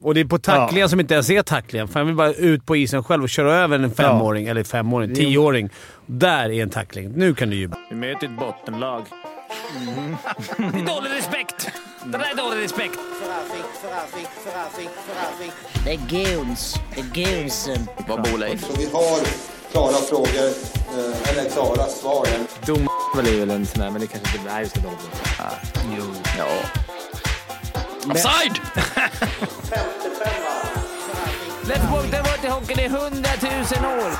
Och det är på tacklingar som inte ens är tacklingar. Fan, jag vill bara ut på isen själv och köra över en femåring, eller femåring, tioåring. Där är en tackling. Nu kan du jubla. Vi möter ett bottenlag. Det Mm. är dålig respekt! Det där är dålig respekt! Det är goons. Det är goonsen. Vad bor Leif? Så vi har klara frågor, eh, eller klara svar. Dom väl är väl en sån där, men det kanske inte... Nej, just det. Dom. Ja. Offside! Let's walk the road till hockeyn i hundratusen år!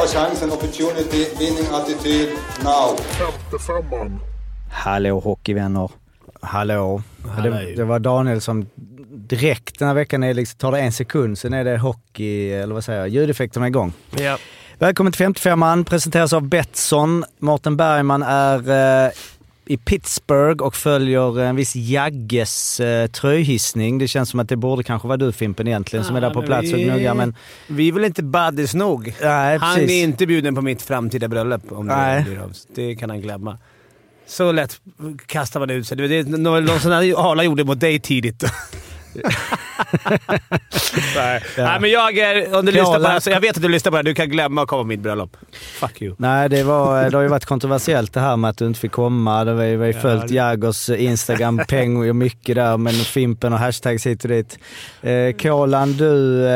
Ta chansen, opportunity, winning attityd, now. Hallå hockeyvänner. Hallå. Det, det var Daniel som direkt den här veckan, är liksom, tar det en sekund, sen är det hockey, eller vad säger jag, ljudeffekterna är igång. Ja. Välkommen till 55an, presenteras av Betsson. Mårten Bergman är eh, i Pittsburgh och följer en viss Jagges eh, tröjhissning. Det känns som att det borde kanske vara du Fimpen egentligen som är där på men plats och vi- gnuggar, men Vi är väl inte buddies nog? nej, Han precis. är inte bjuden på mitt framtida bröllop om det Nej. blir av. Det kan han glömma. Så lätt kastar man ut sig. Det är någon någon sån här Arla gjorde mot dig tidigt. Nej. Nej, men jag är... Om du lyssnar på det här, så jag vet att du lyssnar på det här. Du kan glömma att komma på mitt bröllop. Fuck you. Nej, det, var, eh, det har ju varit kontroversiellt det här med att du inte fick komma. Det var ju, vi har ju följt Jaggers Instagram, pengar och mycket där, men Fimpen och hashtags hit och dit. Eh, Kolan, du, eh,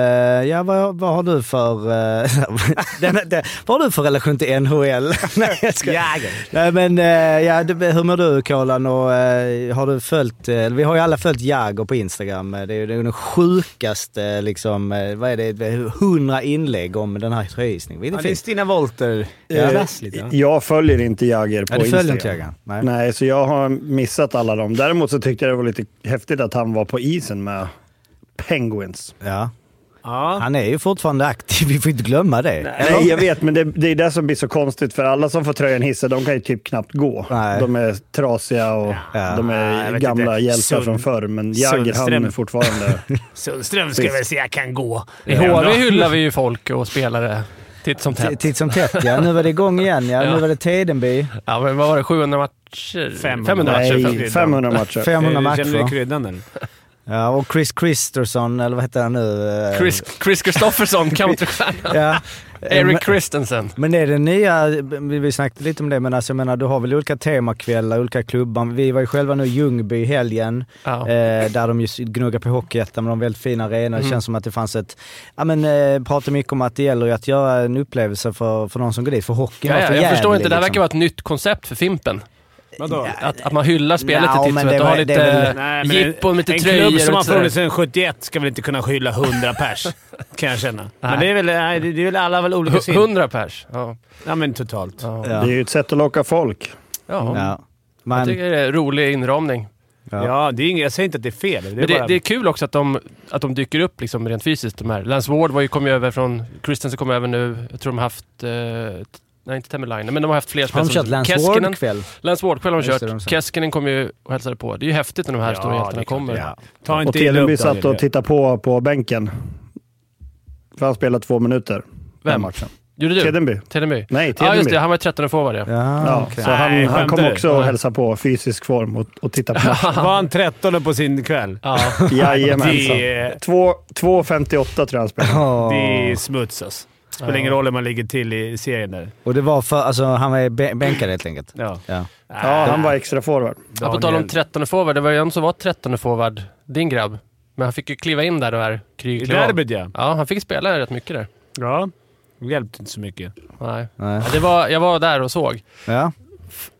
ja vad, vad har du för... Eh, den, den, vad har du för relation till NHL? Nej, jag ska, Jagger. Nej men eh, ja, du, hur mår du Kolan och eh, har du följt, eh, vi har ju alla följt Jagger på Instagram. Eh, Det är ju det är den sjukaste liksom, eh, vad är det, hundra inlägg om den här tröjhissningen. Vilket Ja, är det är fint. Stina Wolter. Eh, Rassligt, va? Jag följer inte Jagger på Ja, du Instagram. följer inte Jagger? Nej. Nej. Nej, så jag har missat alla dem. Däremot så tyckte jag det var lite häftigt att han var på isen med Penguins. Ja. Ja. Han är ju fortfarande aktiv, vi får inte glömma det. Eller? Nej, jag vet, men det, det är det som blir så konstigt, för alla som får tröjan hissad, de kan ju typ knappt gå. Nej. De är trasiga och Ja. de jag är vet gamla inte. hjältar Sund- från förr, men Jagger han Sundström. är fortfarande... Sundström ska jag väl säga kan gå. I HV hyllar vi ju folk och spelare titt som T- tätt. Titt som tätt ja. Nu var det igång igen ja. Nu var det Tedenby. Ja, men vad var det? 700 matcher? 500. 500 matcher. Nej, 500 matcher. 500 Eh, Eh, Känner du matcher. kryddan eller? Ja, och Chris Christerson, eller vad heter han nu? Eh, Chris, Chris Eh, Christofferson, counterstjärna. Ja. Eh, Eric Christensen. Men är det nya, vi vi snackade lite om det, men alltså jag menar du har väl olika temakvällar, olika klubbar. Vi var ju själva nu i Ljungby i helgen, Ja. eh, där de just gnuggar på Hockeyettan med de väldigt fina arenor. Mm. Det känns som att det fanns ett, ja men eh, pratar mycket om att det gäller ju att göra en upplevelse för, för någon som går dit, för hockeyn Ja, var ja, för jag förstår jävlig, inte, det här liksom. verkar vara ett nytt koncept för Fimpen. Vadå? Att, att man hyllar spelet Ja, till titt men som tätt det och har var- det är lite Nej, men jippon, lite en tröjor klubb som har och sådär. funnits sedan 71 ska väl inte kunna skylla 100 pers, kan jag känna. Men det är väl, nej, det är väl alla väl olika Hu- sin. 100 pers. Ja. Ja, men totalt. Ja. Det är ju ett sätt att locka folk. Ja. Ja. Jag Men, tycker det är en rolig inramning. Ja, det är inget, jag säger inte att det är fel. Det är Men det, bara, det är kul också att de, att de dyker upp liksom rent fysiskt, de här. Lance Ward var ju, kom ju över från... Christensen kom över nu. Jag tror de har haft... Eh, nej, inte Temmerlainen, men de har haft fler har spelare. de som- kört Lance Keskinen- Ward ikväll? Lance Ward-kväll har de Just kört. det, de sa. Keskinen kom ju och hälsade på. Det är ju häftigt när de här Ja, stora det är hjältarna klart, kommer. ja. Ta Och inte illa Tedenby upp, satt Daniel. och tittade på på bänken. För han spelade två minuter. Den Vem? matchen. Gjorde du? Tedenby. Tedenby. Nej, Ja, Tedenby. just det. Han var 13 forward, ja. Ja, Ja, okej. Så han, Nej, han kom skämtar du? också och hälsade på fysisk form och, och tittade på matchen. Var han 13 på sin kväll? ja. Jajamensan. Det- Två- 2.58 tror jag han spelade. Ja. Det är smuts alltså. Spelar ingen roll hur man ligger till i serien där. Och det var för, alltså han var bä- bänkad helt enkelt. Ja. Ja. Ja, han var extra forward. Ja, på tal om 13 forward, det var ju en som var 13 forward, din grabb. Men han fick ju kliva in där och där. Kry, I kliva av. derbyt ja. Ja, han fick spela rätt mycket där. Ja. Det hjälpte inte så mycket. Nej. Nej. Ja, det var, jag var där och såg. Ja.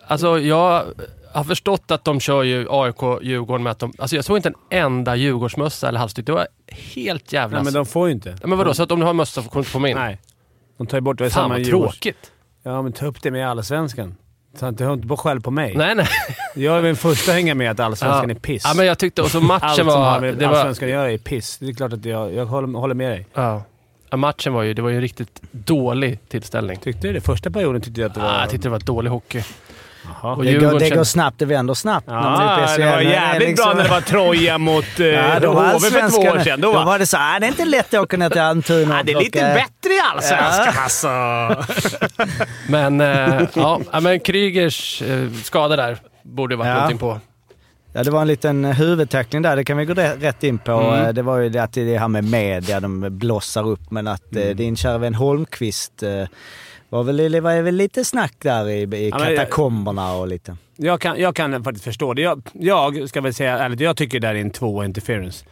Alltså, jag har förstått att de kör ju AIK, Djurgården med att de... Alltså jag såg inte en enda Djurgårdsmössa eller halsduk. Det var helt jävla... Nej, men de får ju inte. Alltså. ja, men vadå, så att om du har mössa får du inte komma in? Nej. De tar ju bort det. Fan samma vad Djurgårds- tråkigt. Ja, men ta upp det med allsvenskan. Så att du hör inte på skäll på mig. Nej, nej. Jag är den första att hänga med att allsvenskan är piss. Ja, men jag tyckte... Och så Allt matchen som var... har med Det var allsvenskan att göra är piss. Det är klart att jag, jag håller, håller med dig. ja. ja, matchen var ju... Det var ju en riktigt dålig tillställning. Tyckte du det? Första perioden tyckte jag att det var... Ah, jag tyckte det var dålig hockey. Jaha. Och Det, går, det kände- går snabbt, det vänder snabbt. när man är uppe i Ja, SHL. det var Men jävligt liksom- bra när det var Troja mot eh, Ja, då var HV för två år allsvenskan- sedan. Då Då var, var det så här, det är inte lätt att åka ner till Almtuna ja, och det är lite plocka- bättre i allsvenskan alltså. Men, eh, ja, ja, men Krygers eh, skada där borde ju varit Ja. någonting på. Ja, det var en liten huvudtackling där. Det kan vi gå re- rätt in på. Mm. Eh, Det var ju det att det här med media, de blossar upp. Men att Mm. eh, din kära vän Holmqvist eh, var väl, det var väl lite snack där i, i Ja, men- katakomberna och lite. Jag kan, jag kan faktiskt förstå det. Jag, jag ska väl säga ärligt, jag tycker det där är en tvåa interference.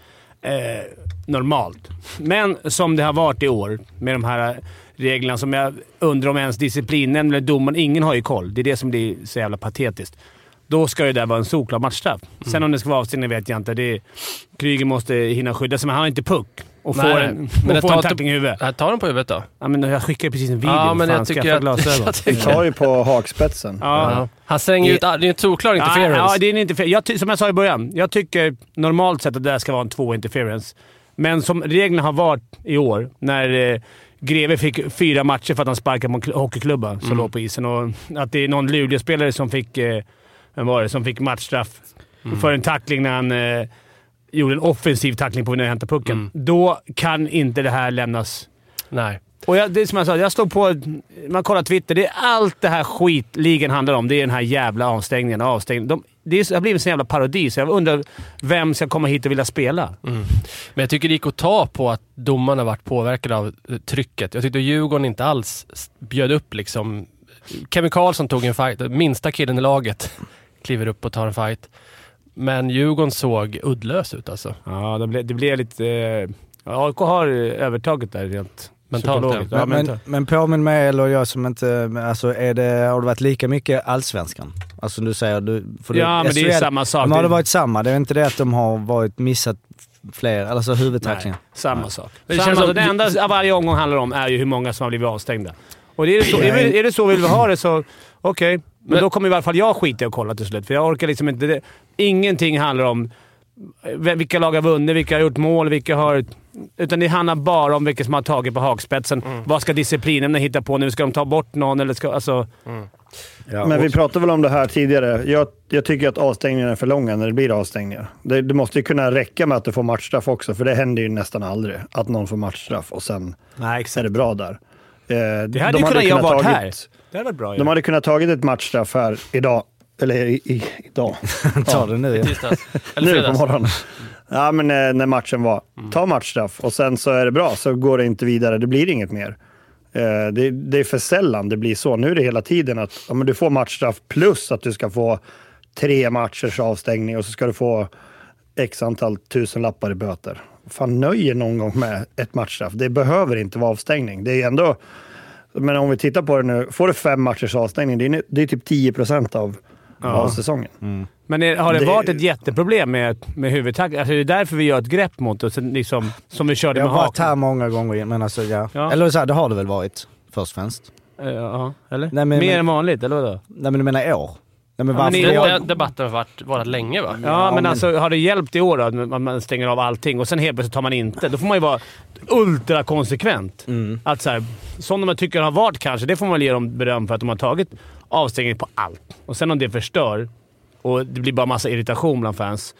Eh, normalt. Men som det har varit i år med de här reglerna som jag undrar om ens disciplinen eller domaren, ingen har ju koll. Det är det som blir så jävla patetiskt. Då ska ju det där vara en solklar matchstraff. Mm. Sen om det ska vara avstängning vet jag inte. Det är, Kryger måste hinna skydda sig, men han har inte puck. Och Nej, får en, men och får ta en inte- tackling i huvudet. Här, Ta den Äh, på huvudet då. Ja, men jag skickade precis en video. Ja, men Fan, jag skaffa tycker att... glasögon. jag Det tycker- tar ju på hakspetsen. Ja. Ja. Han slänger ut... Det är ju en solklar interference. Ja, ja, det är en interference. Jag ty- som jag sa i början, jag tycker normalt sett att det där ska vara en två interference. Men som reglerna har varit i år, när eh, Greve fick fyra matcher för att han sparkade mot kl- hockeyklubban som låg på isen och att det är någon Luleåspelare som fick, eh, vem var det, som fick matchstraff för en tackling när han eh, gjorde en offensiv tackling på när han hämtade pucken. Då kan inte det här lämnas Nej. och jag, det är som jag sa, jag slog på... Man kollar Twitter. Det är allt det här skit ligan handlar om. Det är den här jävla avstängningen och avstängningen. De, det, är, så- det har blivit en sån jävla parodi, så jag undrar vem ska komma hit och vilja spela. Men jag tycker det gick att ta på att domarna varit påverkade av eh, trycket. Jag tyckte Djurgården inte alls s- bjöd upp liksom. Kevin Karlsson tog en fight. Minsta killen i laget kliver upp och tar en fight. Men Djurgården såg uddlös ut alltså. Ja, det blev, det blev lite... Eh, AIK har övertaget där rent Mentalt, psykologiskt. ja. Ja, men, mentalt. men påminn mig, eller jag som inte... men Alltså, är det, har det varit lika mycket allsvenskan? Alltså du säger... Du, för ja, du, men det är SHL samma sak. Men har det varit samma? Det är inte det att de har varit missat fler, alltså huvudtacklingar? samma sak. Det Det, känns samma, som- det enda varje omgång handlar om är ju hur många som har blivit avstängda. Och är det så, är det, är det så vi vill ha det så okej. Men då kommer i alla fall jag skita i att kolla till slut, för jag orkar liksom inte. Det, ingenting handlar om vem- vilka lag har vunnit, vilka har gjort mål, vilka har... Utan det handlar bara om vilka som har tagit på hakspetsen. Vad ska disciplinen hitta på nu? Ska de ta bort någon eller ska... Alltså, Men vi pratade väl om det här tidigare. Jag, jag tycker att avstängningarna är för långa när det blir avstängningar. Det, det måste ju kunna räcka med att du får matchstraff också, för det händer ju nästan aldrig att någon får matchstraff och sen nej, är det bra där. Eh, Det hade ju kunnat jag varit här. Det hade varit bra ju. De hade kunnat tagit ett matchstraff här idag. Eller i, i, idag. Ta det nu. Ja. Tisdags. Eller Nu på fredags. Mm. morgonen. Ja, men eh, när matchen var. Ta matchstraff och sen så är det bra, så går det inte vidare. Det blir inget mer. Eh, Det, det är för sällan det blir så. Nu är det hela tiden att ja, men du får matchstraff plus att du ska få tre matchers avstängning och så ska du få x antal tusen lappar i böter. Fan, nöjer någon gång med ett matchstraff. Det behöver inte vara avstängning. Det är ändå... Men om vi tittar på det nu. Får du fem matchers avstängning, det är, det är typ 10 procent av, av säsongen. Men är, har det, Det- varit ett jätteproblem med, med huvudtackling? Alltså, det är därför vi gör ett grepp mot det, och sen liksom, som vi körde Jag har med varit haken. här många gånger, men alltså ja. Ja. Eller så här, det har det väl varit, först och främst. Eh, Ja, eller? Nej, men- Mer men- än vanligt, eller vadå? Nej men du menar i år? Nej men Ja, men varför? i Den, år- den debatten har varit, varit länge va? Ja, men, alltså har det hjälpt i år då? Att man- man stänger av allting och sen helt plötsligt tar man inte. Då får man ju vara ultrakonsekvent. Mm. Att så här, som de tycker har varit kanske, det får man väl ge dem beröm för att de har tagit avstängning på allt. Och sen om det förstör och det blir bara massa irritation bland fans.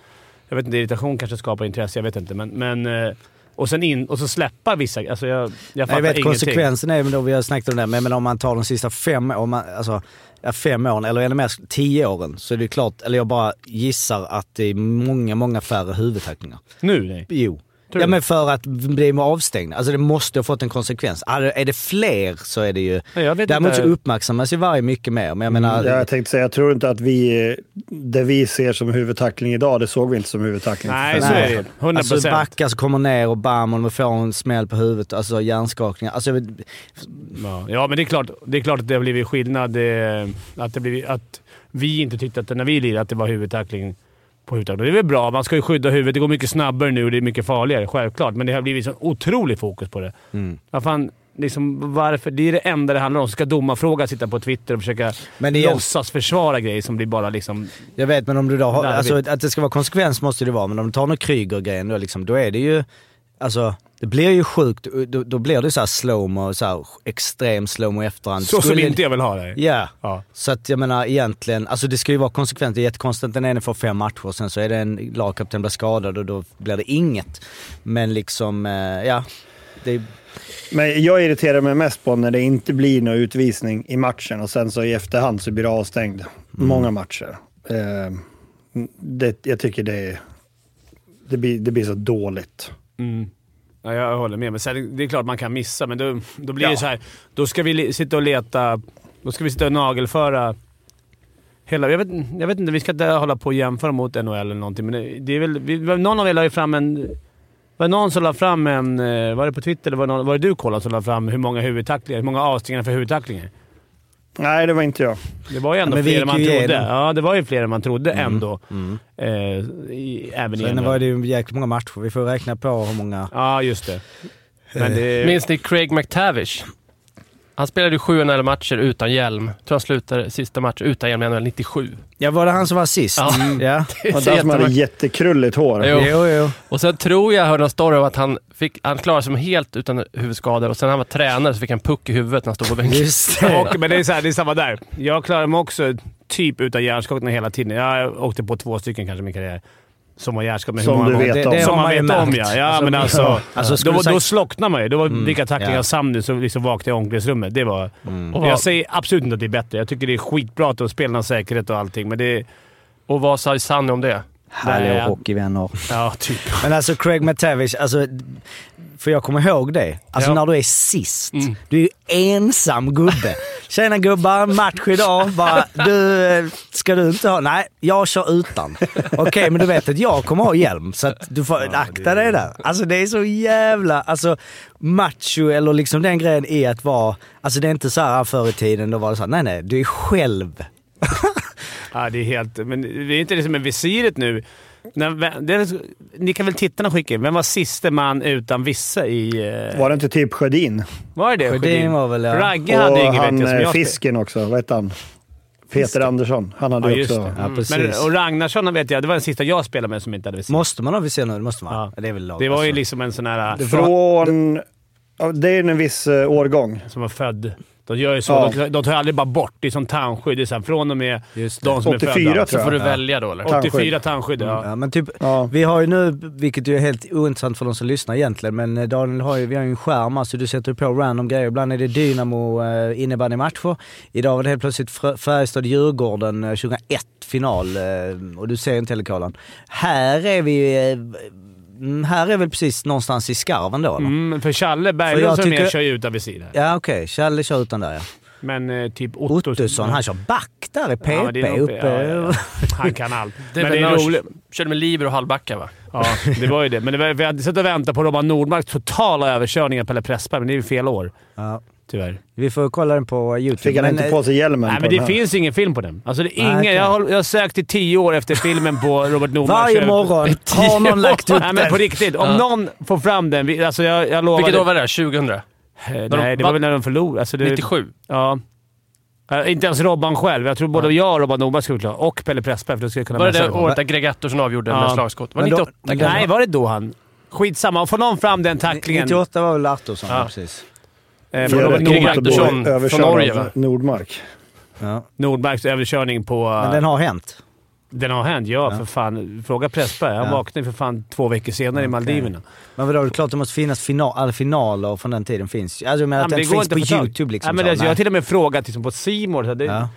Jag vet inte, irritation kanske skapar intresse. Jag vet inte, men... men eh, och, sen in, och så släppa vissa... Alltså jag, jag Nej, fattar jag vet ingenting. konsekvensen är, men då vi har snackat om det, men, men om man tar de sista fem åren, man, alltså ja, fem åren eller ännu mer, tio åren, så är det ju klart, eller jag bara gissar att det är många, många färre huvudtacklingar. Nu? Nej. Jo. Ja men för att bli med avstängd. Alltså det måste ha fått en konsekvens. Alltså, är det fler så är det ju... Nej, jag vet Däremot så inte. uppmärksammas ju varje mycket mer. Men jag menar... Ja, Mm, jag tänkte säga, jag tror inte att vi, det vi ser som huvudtackling idag, det såg vi inte som huvudtackling. Nej, så Nej. är det ju. 100%. Alltså backar som kommer ner och bam, och de får en smäll på huvudet. Alltså hjärnskakningar. Alltså, jag vet- Ja, ja men det är, klart, det är klart att det har blivit skillnad. eh, Att, det blivit, att vi inte tyckte att det, när vi lirade att det var huvudtackling på huvudtackling. Det är väl bra. Man ska ju skydda huvudet. Det går mycket snabbare nu och det är mycket farligare, självklart. Men det har blivit så otroligt fokus på det. Mm. Vad fan, liksom, varför? Det är det enda det handlar om. Så ska domarfrågan sitta på Twitter och försöka Men det är- låtsas försvara grejer som blir bara liksom... jag vet, men om du då har... Nej, jag alltså, vet. att det ska vara konsekvens måste det vara, men om du tar någon Kryger-grejen då, liksom, då är det ju... Alltså, det blir ju sjukt. eh, Då, då blir det så här slow-mo, så här extrem slow-mo i efterhand. Så som Skulle- inte jag vill ha det. Ja. Ja. Så att jag menar egentligen, alltså det ska ju vara konsekvent. Det är jättekonstigt att den ene får fem matcher och sen så är det en lagkapten blir skadad och då blir det inget. Men liksom, eh, ja. Det, Men jag irriterar mig mest på när det inte blir någon utvisning i matchen och sen så i efterhand så blir det avstängd. Många matcher. Eh, det, jag tycker det är... Det blir, det blir så dåligt. Mm. Ja, jag håller med. Men sen, det är klart man kan missa, men då, då blir Ja. det så här. Då ska vi li- sitta och leta... Då ska vi sitta och nagelföra hela... Jag vet, jag vet inte, vi ska inte hålla på och jämföra mot NHL eller någonting, men det, det är väl... Vi, någon av er la ju fram en... Var det någon som la fram en... eh, Var det på Twitter eller var det, någon, var det du Kolla som la fram hur många huvudtacklingar, hur många avstängningar för huvudtacklingar? Nej, det var inte jag. Det var ju ändå men vi fler än gick man ju trodde. igenom. Mm. Ja, det var ju fler än man trodde ändå. Eh, i, även i Sen NHL. var det ju jäkligt många matcher. Vi får räkna på hur många. Ja, just det. Eh, Men det... Minns ni Craig McTavish? Han spelade ju sju NHL-matcher utan hjälm. Tror han slutade sista match utan hjälm i NHL 97. Ja, var det han som var sist? Ja. ja. Det är Och så den som hade jättemärkligt. jättekrulligt hår. Jo. Jo, jo. Och sen tror jag jag hörde en story om att han, fick, han klarade sig helt utan huvudskador och sen när han var tränare så fick han puck i huvudet när han stod på bänken. Just det. Och, men det är, så här, det är samma där. Jag klarar mig också typ utan hjärnskakning hela tiden. Jag åkte på två stycken kanske i min karriär som var hjärnskakning. Som Hur många du gånger? vet Det- om. det Som man har man ju vet om märkt. ja. ja Alltså, men alltså, Alltså, skulle då, du sagt- Mm. då slocknar man ju. Det var vilka tacklingar ja. Mm. jag sam nu som liksom vaknade i omklädningsrummet. Det var, Och Jag vad, säger absolut inte att det är bättre. Jag tycker det är skitbra att de spelar någon säkerhet och allting, men det... och vad sa Sanne om det? Härliga Nej. hockeyvänner. Ja, typ. Men alltså Craig McTavish, alltså, för jag kommer ihåg det. Alltså Ja. när du är sist. Mm. Du är ju ensam gubbe. Tjena gubbar, match idag. Bara, du, eh, ska du inte ha? Nej, jag kör utan. Okej, men du vet att jag kommer ha hjälm så att du får akta dig där. Alltså det är så jävla... Alltså macho eller liksom den grejen är att vara... Alltså det är inte så här förr i tiden, då var det så här, nej nej, du är själv. Ja, det är helt... Men det är inte det som är visiret nu. När, det är, ni kan väl tittarna skicka in. Vem var siste man utan vissa i... eh, Var det inte typ Sjödin? Var det Sjödin var väl, ja. Ragge hade ju Och inget vettigt han som eh, jag fisken också. Vad hette han? Peter Andersson. Han Ja, hade ju just också... det. Mm. Ja, precis. Men, och Ragnarsson vet jag, det var den sista jag spelade med som inte hade visit. Måste man ha visir nu? Det måste man. Ja. Det är väl lag. Det var ju alltså. liksom en sån här äh, Från... ja, Det är en viss eh, årgång. som var född. De gör ju så. Ja. De, de tar ju aldrig bara bort. Det är som tandskydd. Det är så här, från och med Just det. de som 84 är födda. tror Får jag. du välja då eller? Ja. Tandskydd. 84 tandskydd, ja. Ja, men typ, Ja. Vi har ju nu, vilket ju är helt ointressant för de som lyssnar egentligen, men eh, Daniel har ju, vi har ju en skärm alltså du sätter ju på random grejer. Ibland är det Dynamo eh, innebandymatcher. Idag var det helt plötsligt Frö- Färjestad-Djurgården eh, 2001 final eh, och du ser inte heller kolan. Här är vi ju, eh, mm, här är väl precis någonstans i skarven då eller? Mm, för Challe För Berglund jag som är tycker- med kör ju utan visir här. Ja okej, Challe kör utan där ja. Men eh, typ Otto... Ottosson, han kör back där i PP Ja, men det är nog- uppe. ja, ja. Han kan allt. Det är men väl det när är de roligt. Körde med Liber och halvbackar va? Ja, det var ju det. Men det var, vi hade suttit och väntat på Robban Nordmarks totala överkörning av Pelle Pressberg, men det är ju fel år. Ja. Tyvärr. Vi får kolla den på YouTube. Fick han Men, inte eh, på sig hjälmen Nej, på men det den här? finns ingen film på den. Alltså, det är Nej, ingen, okej. jag, har, jag har sökt i tio år efter filmen på Robert Nordmark. eh, Varje Jag- morgon har någon lagt upp Nej, den. men på riktigt. Om Ja. någon får fram den. vi- Alltså, jag, jag lovar. Vilket det. år var det? 2000? Eh, Nej, det var väl när de förlorade. Alltså, det, 97? Ja. Eh, Inte ens Robban själv. Jag tror både jag och Robban Nordmark skulle klara Och Pelle Pressberg, för då skulle jag kunna Var det mässa det dem. året där Greg Attersson avgjorde Ja. med slagskott? Var det Men då- 98? men då- Nej, var det då han? Skitsamma. Får någon fram den tacklingen... 98 var väl Artursson, Ja. ja. precis. Eh, För på Robert övrigt, Kring Nordmark, Göteborg Andersson från överkörd Norge, av va? Nordmark. Ja. Nordmarks överkörning på... eh, Men den har hänt. Den har hänt, ja, för fan. Fråga Pressberg. Han Ja. vaknade ju för fan två veckor senare i Maldiverna. Men vadå, det är klart det måste finnas final, alla finaler från den tiden finns. Alltså jag menar Ja, att men den går finns inte på att få tag- YouTube liksom. Ja, men så. alltså, jag har Nej. till och med frågat liksom, på C More, så det, Ja.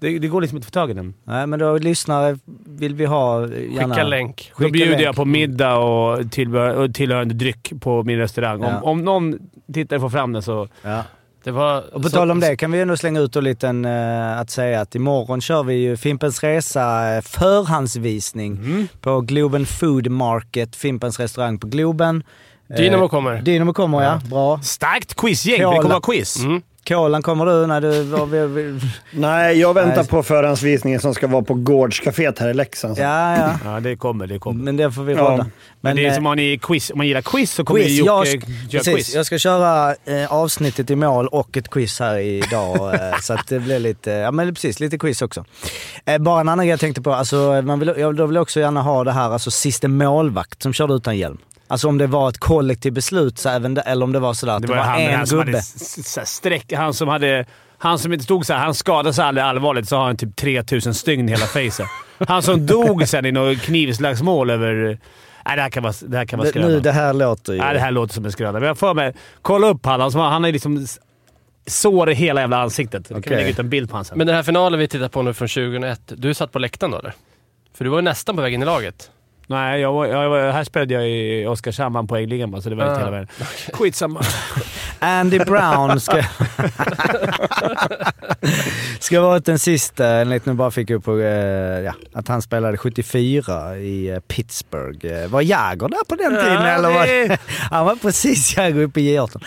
det, det går liksom inte att få tag i den. Nej, men då lyssnare vill vi ha eh, gärna... Skicka länk. Då Skicka bjuder länk. jag på middag och, tillbehör, och tillhörande dryck på min restaurang. Ja. Om, om någon tittare får fram den så... Ja. Det var, Och på tal om det kan vi ju ändå slänga ut en liten, eh, att säga att imorgon kör vi ju Fimpens Resa eh, förhandsvisning Mm. på Globen Food Market, Fimpens restaurang på Globen. Eh, Dynamo kommer. Dynamo kommer ja, bra. Starkt quizgäng! Kolla. Vi kommer ha quiz. Kolan kommer du när du... vad vi- vi- Nej, jag väntar Nej. på förhandsvisningen som ska vara på Gårdscaféet här i Leksand. Ja, ja. Ja, det kommer. Det kommer. Mm. Men det får vi Ja. råda. Men Men, det är eh, som om, ni quiz, om man gillar quiz så kommer quiz. ju Jag, Jocke ska, göra precis, quiz. jag ska köra eh, avsnittet i mål och ett quiz här idag. eh, så att det blir lite, ja men precis, lite quiz också. Eh, bara en annan grej jag tänkte på. Alltså, man vill, jag då vill jag också gärna ha det här, alltså siste målvakt som körde utan hjälm. Alltså om det var ett kollektivt beslut, så även det, eller om det var sådär att det var, han, en han som hade gubbe. s- s- så här streck, han som hade... Han som inte stod så här, han skadade sig aldrig allvarligt, så har han typ 3000 stygn i hela facet. Han som dog sen i något knivslagsmål över... Nej, det här kan vara, det här kan vara Det, nu, skröna. det här låter ju... Nej, det här låter som en skröna. Men jag får mig... Kolla upp han. Han som har- han är liksom s- sår i hela jävla ansiktet. Okay. kan vi Okej. lägga ut en bild på honom sen. Men den här finalen vi tittar på nu från 2001, du satt på läktaren då eller? För du var ju nästan på väg in i laget. Nej, jag, var- jag, var- här spelade jag i Oskarshamn, vann poängligan bara, så alltså det var inte Ah. hela världen. Skitsamma. Andy Brown ska... ska vara den sista, enligt nu bara fick upp på, eh, ja, att han spelade 74 i eh, Pittsburgh. Eh, Var Jagr där på den tiden eller? Var... det- han var precis Jagr uppe i J18.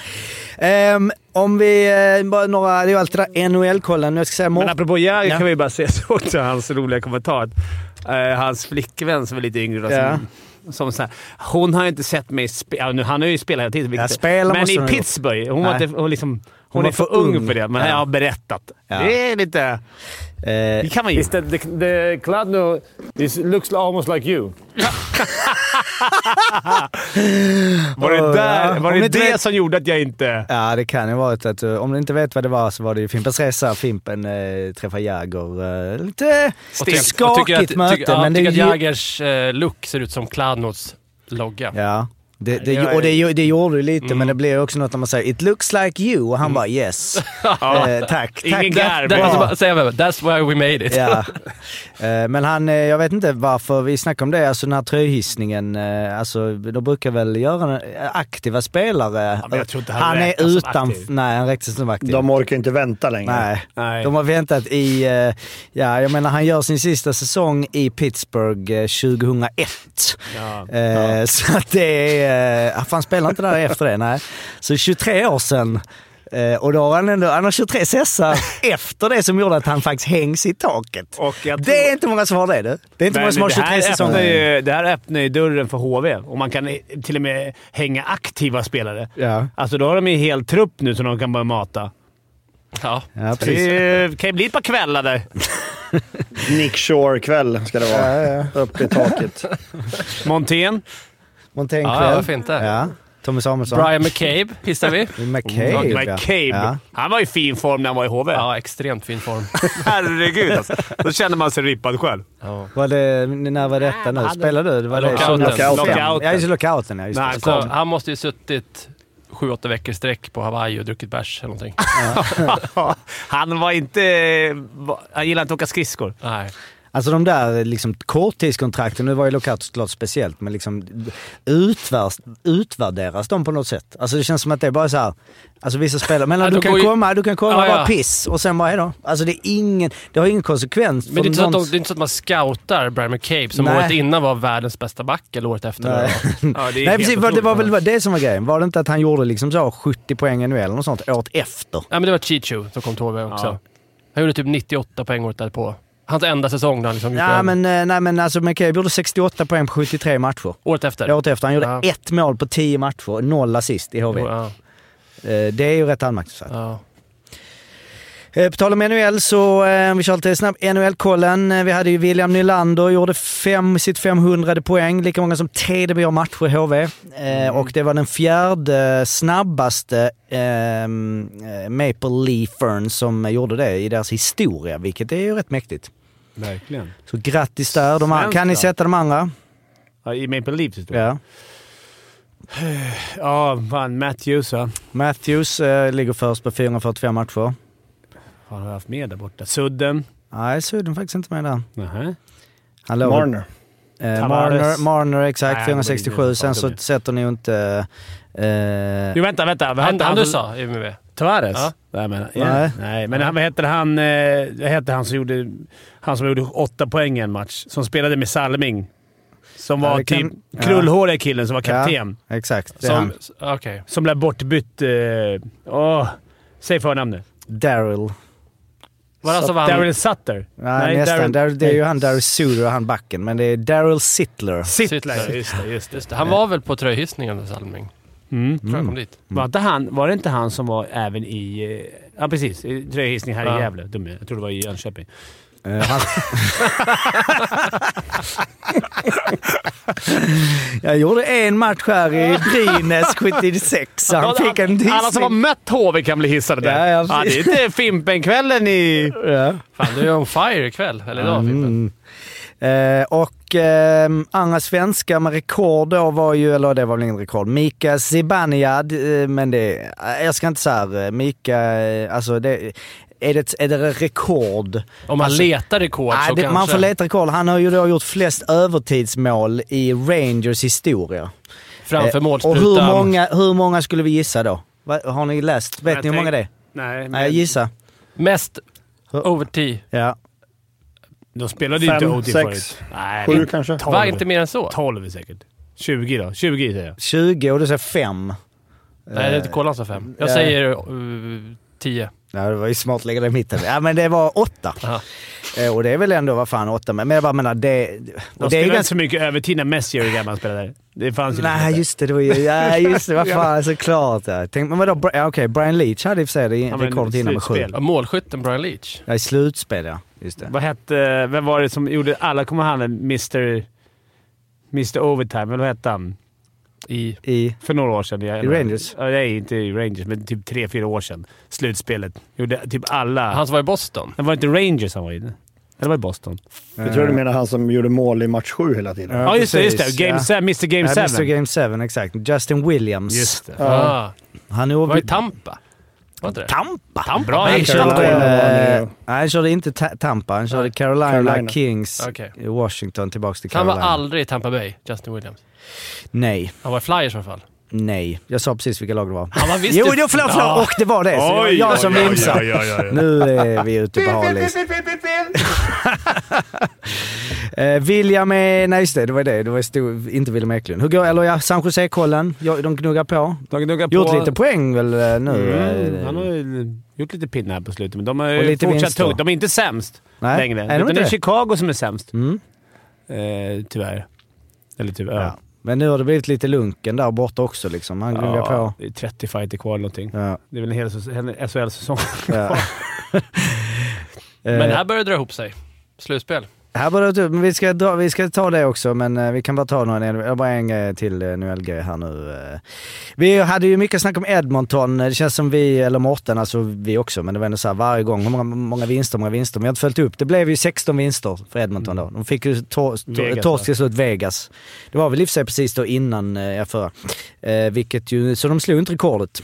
Ehm, om vi, eh, bara några, det är ju alltid där NHL-kollen. Jag ska säga Men Morten. apropå Jagr Ja. kan vi bara säga så också, hans roliga kommentar. att, eh, hans flickvän som är lite yngre då, Ja. som, som så här, Hon har ju inte sett mig spela. Ja, nu- han har ju spelat hela tiden. vilket- Ja, spela men måste hon i ha gjort. Pittsburgh. Hon, var Nej. inte, hon, liksom, hon, Hon är för ung för det, men Ja. jag har berättat. Ja. Det är lite... Eh, Det kan man ju. that the, the Cladno is, looks almost like you. Var det, Åh, där, Oh, ja. var Om det inte det vet- som gjorde att jag inte... Ja, det kan ju vara att eh, om du inte vet vad det var så var det ju Fimpens Resa. Fimpen eh, träffar Jagr. Eh, lite tyck- skakigt tycker att, möte, tycker, ja, men det är tycker att ju- Jagers eh, look ser ut som Kladnos logga. Ja. Det, det, och det, gjo- det gjorde du lite, Mm. men det blir också något när man säger “It looks like you” och han bara “Yes”. Eh, tack. Ingen tack. garv. Där Bra. alltså, måste man säga bara, that's why we made it. Ja. Eh, Men han, eh, jag vet inte varför vi snackar om det, alltså den här tröjhissningen. eh, Alltså, de brukar väl göra eh, aktiva spelare. men jag tror inte han han är räknas som utan... aktiv. Nej, han räknas som aktiv. De orkar inte vänta längre. Nej. Nej. De har väntat i... eh, Ja, jag menar han gör sin sista säsong i Pittsburgh eh, 2001. Ja. Eh, Så att det är... eh, Fan, spelar inte där efter det? Nej. Så 23 år sedan. Eh, Och då har han ändå... Han har 23 sessar efter det som gjorde att han faktiskt hängs i taket. Och jag tror- Det är inte många som har det du. Det är inte många som har det, 23 här öppnar säsonger. ju, det här öppnar ju dörren för HV och man kan i- till och med hänga aktiva spelare. Ja. Alltså då har de ju en hel trupp nu som de kan börja mata. Ja. Ja, precis. Det kan ju bli ett par kvällar där. Nick Shore-kväll ska det vara. Upp i taket. Montén. Montaigne Ja, själv. varför inte? Ja. Tommy Samuelsson. Brian McCabe pissar vi. McCabe. ja. McCabe. Ja. Han var i fin form när han var i HV. Ja, extremt fin form. Herregud alltså. Då känner man sig rippad själv. Var det, när var detta nu? Spelade du? Det var Lockouten. Det, lockouten. Lockouten. Ja, just det, lockouten. Ja, just det. Nej, Så kom. han måste ju suttit sju, åtta veckor i sträck på Hawaii och druckit bärs eller någonting. han var inte... Han gillade inte att åka skridskor. Nej. Alltså de där liksom, korttidskontrakten, nu var ju lockout såklart speciellt, men liksom utvärs, utvärderas de på något sätt? Alltså det känns som att det är bara så här, alltså vissa spelare, men Ja, du, de kan går ju- komma, du kan komma och Ja, ja. vara piss och sen bara hejdå. Alltså det är ingen, det har ingen konsekvens. Men det är, inte så att någon- de, det är inte så att man scoutar Brian McCabe, som Nej. året innan var världens bästa back, eller året efter. Nej. Ja, det är Nej helt precis, var- det var otroligt. väl det som var grejen. Var det inte att han gjorde liksom så 70 poäng i NHL eller något sånt året efter? Ja, men det var Chichu som kom till HV också. Ja. Han gjorde typ 98 poäng året därpå. Hans enda säsong när han liksom Ja, gjorde- men, eh, nej men alltså McCabe gjorde 68 poäng på 73 matcher. Året efter. Året efter. Han gjorde Ja. ett mål på 10 matcher och noll assist i HV. Ja, Eh, Det är ju rätt anmärkningsvärt. ja. Eh, På tal om NHL så, eh, om vi kör lite snabbt, NHL-kollen. Eh, Vi hade ju William Nylander, gjorde fem, sitt 500 poäng, lika många som TDB gör matcher i HV. Eh, Mm. Och det var den fjärde snabbaste eh, Maple Leafern som gjorde det i deras historia, vilket är ju rätt mäktigt. Verkligen. Så grattis där. De an- Svenskt kan ni då? sätta de andra? Ja, I Maple Leafs tror jag. Ja. Ja, fan. Matthews va? Matthews eh, ligger först på 445 matcher. Vad har jag haft med där borta? Sudden. Nej, Sudden faktiskt inte med där. Nähä. Han låg- Marner. Eh, Tavares. Marner, Marner, exakt. Nej, 467. Sen så det- sätter ni ju inte... Eh, Jo, vänta, vänta. Vad Han, hette han du som- sa i MV. Tavares? Ja. Nej, men, ja. Nej. Nej. men han, vad heter han, eh, vad heter han som gjorde han som gjorde åtta poäng i en match? Som spelade med Salming. Som Ja, var det kan- typ ja. krullhåriga killen som var kapten. Ja, exakt. Det är Som... han. Okej. Som blev bortbytt. Eh, åh, säg förnamnet. Daryl. Var alltså han som vann? Daryl Sutter? Nej, nästan. Daryl- Daryl, det är ju han Daryl Suter och han backen, men det är Daryl Sittler. Sittler. Sittler. Just det, just det. Mm. Just det. Han var väl på tröjhissningen med Salming? Mm. Tror jag kom dit. Var, inte han, var det inte han som var även i... eh, Ja, precis. I Tröjhissning här Ja. i Gävle. Dum, jag. jag tror det var i Jönköping. Eh, han... Jag gjorde en match här i Brynäs 76, så han fick en dissning. Alla som har alltså mött HV kan bli hissade där. Ja, ja, det är precis. inte Fimpen-kvällen i... Fan, du är on fire ikväll. Eller Mm. idag, Fimpen. Eh, och eh, andra svenskar med rekord då var ju, eller det var väl ingen rekord, Mika Zibanejad. Eh, men det, eh, jag ska inte säga eh, Mika, eh, alltså det, är det, är det rekord? Om man Alltså- letar rekord Nej, så det, kanske... man får leta rekord. Han har ju då gjort flest övertidsmål i Rangers historia. Framför Eh, målsprutan. Och hur många, hur många skulle vi gissa då? Va, har ni läst? Vet Jag ni hur många det är? tänk- Nej, men Nej, gissa. Mest Hur- overtid. Ja. de spelade ju Fem, inte OT sex, förut. Nej, Sju men kanske? tolv. Var inte mer än så? 12 säkert. 20 då. 20 säger jag. 20 och du säger 5. Nej, det är inte Kolan som fem. Jag eh. säger uh, tio. Ja, det var ju smart att lägga det i mitten. Ja, men det var 8. Aha. Och det är väl ändå, vad fan, 8. Men jag bara menar, det... De Och det är spelade ju inte ganska... så mycket övertid när Messi och hur gammal spelade. Det fanns ju Nej, inte. just det. det var ju, ja, just det. Vad fan, såklart. Ja. Tänk, men vadå, Bri- ja, okej, Brian Leach hade i och för sig det men rekordet innan med 7. slutspel. Ja, Målskytten Brian Leach. Ja, i slutspel ja. Just det. Vad hette... Vem var det som gjorde... Alla kommer ihåg han Mr... Mr Overtime, eller vad hette han? I... I... För några år sedan. I Rangers? Ja, nej, inte i Rangers, men typ tre, fyra år sedan. Slutspelet. Gjorde typ alla... Han som var i Boston. Det var inte Rangers han var i. Eller var det Boston? Jag tror du menar han som gjorde mål i match sju hela tiden. Ja, just det. Just det. Game ja. se- Mr Game Ja, 7. Mr Game 7, exakt. Justin Williams. Just det. Ah, Han var i är Tampa. Var inte det? Tampa! Tampa? Bra Han Asia. körde, Carolina var han eh, ju. nej, han körde inte ta- Tampa, han körde Carolina, Carolina. Kings, Okej. i Washington, tillbaks till Han var Carolina. aldrig i Tampa Bay, Justin Williams. Nej, Han var i Flyers i alla fall. nej. Jag sa precis vilka lag det var. Han var visst Jo, i- jo, förlåt, förlåt! Och det var det! Så jag, jag som vimsar. Nu är vi ute på halis. Eh, William är... Nej, just det. Det var det. Det var stor, inte William Eklund. Hur går Eller ja, San Jose-kollen. Ja, De gnuggar på. De gnuggar på. Gjort lite poäng väl eh, nu? Mm, eh, han har ju gjort lite pinnar här på slutet, men de har Och ju lite fortsatt vinst då. tungt. De är inte sämst Nej, längre. är de utan inte det är det? Chicago som är sämst. Mm. Eh, tyvärr. Eller tyvärr. Ja. Men nu har det blivit lite lunken där borta också liksom. Han gnuggar på. Det är 30 fighter kvar eller någonting. Ja. Det är väl en hel säs- en SHL-säsong. Ja. Men här börjar det dra ihop sig. Slutspel. Här var det typ, men vi ska, dra, vi ska ta det också, men eh, vi kan bara ta några, jag har bara en grej till eh, NHL-grej här nu. eh. Vi hade ju mycket snack om Edmonton, det känns som vi, eller Mårten, alltså vi också, men det var ändå så här varje gång, hur många, många vinster, många vinster. Men jag har inte följt upp, det blev ju 16 vinster för Edmonton då. De fick ju to- to- Vegas, torsk va? till slut Vegas. Det var väl i och för sig precis då innan eh, jag förra. Eh, vilket ju, så de slog inte rekordet.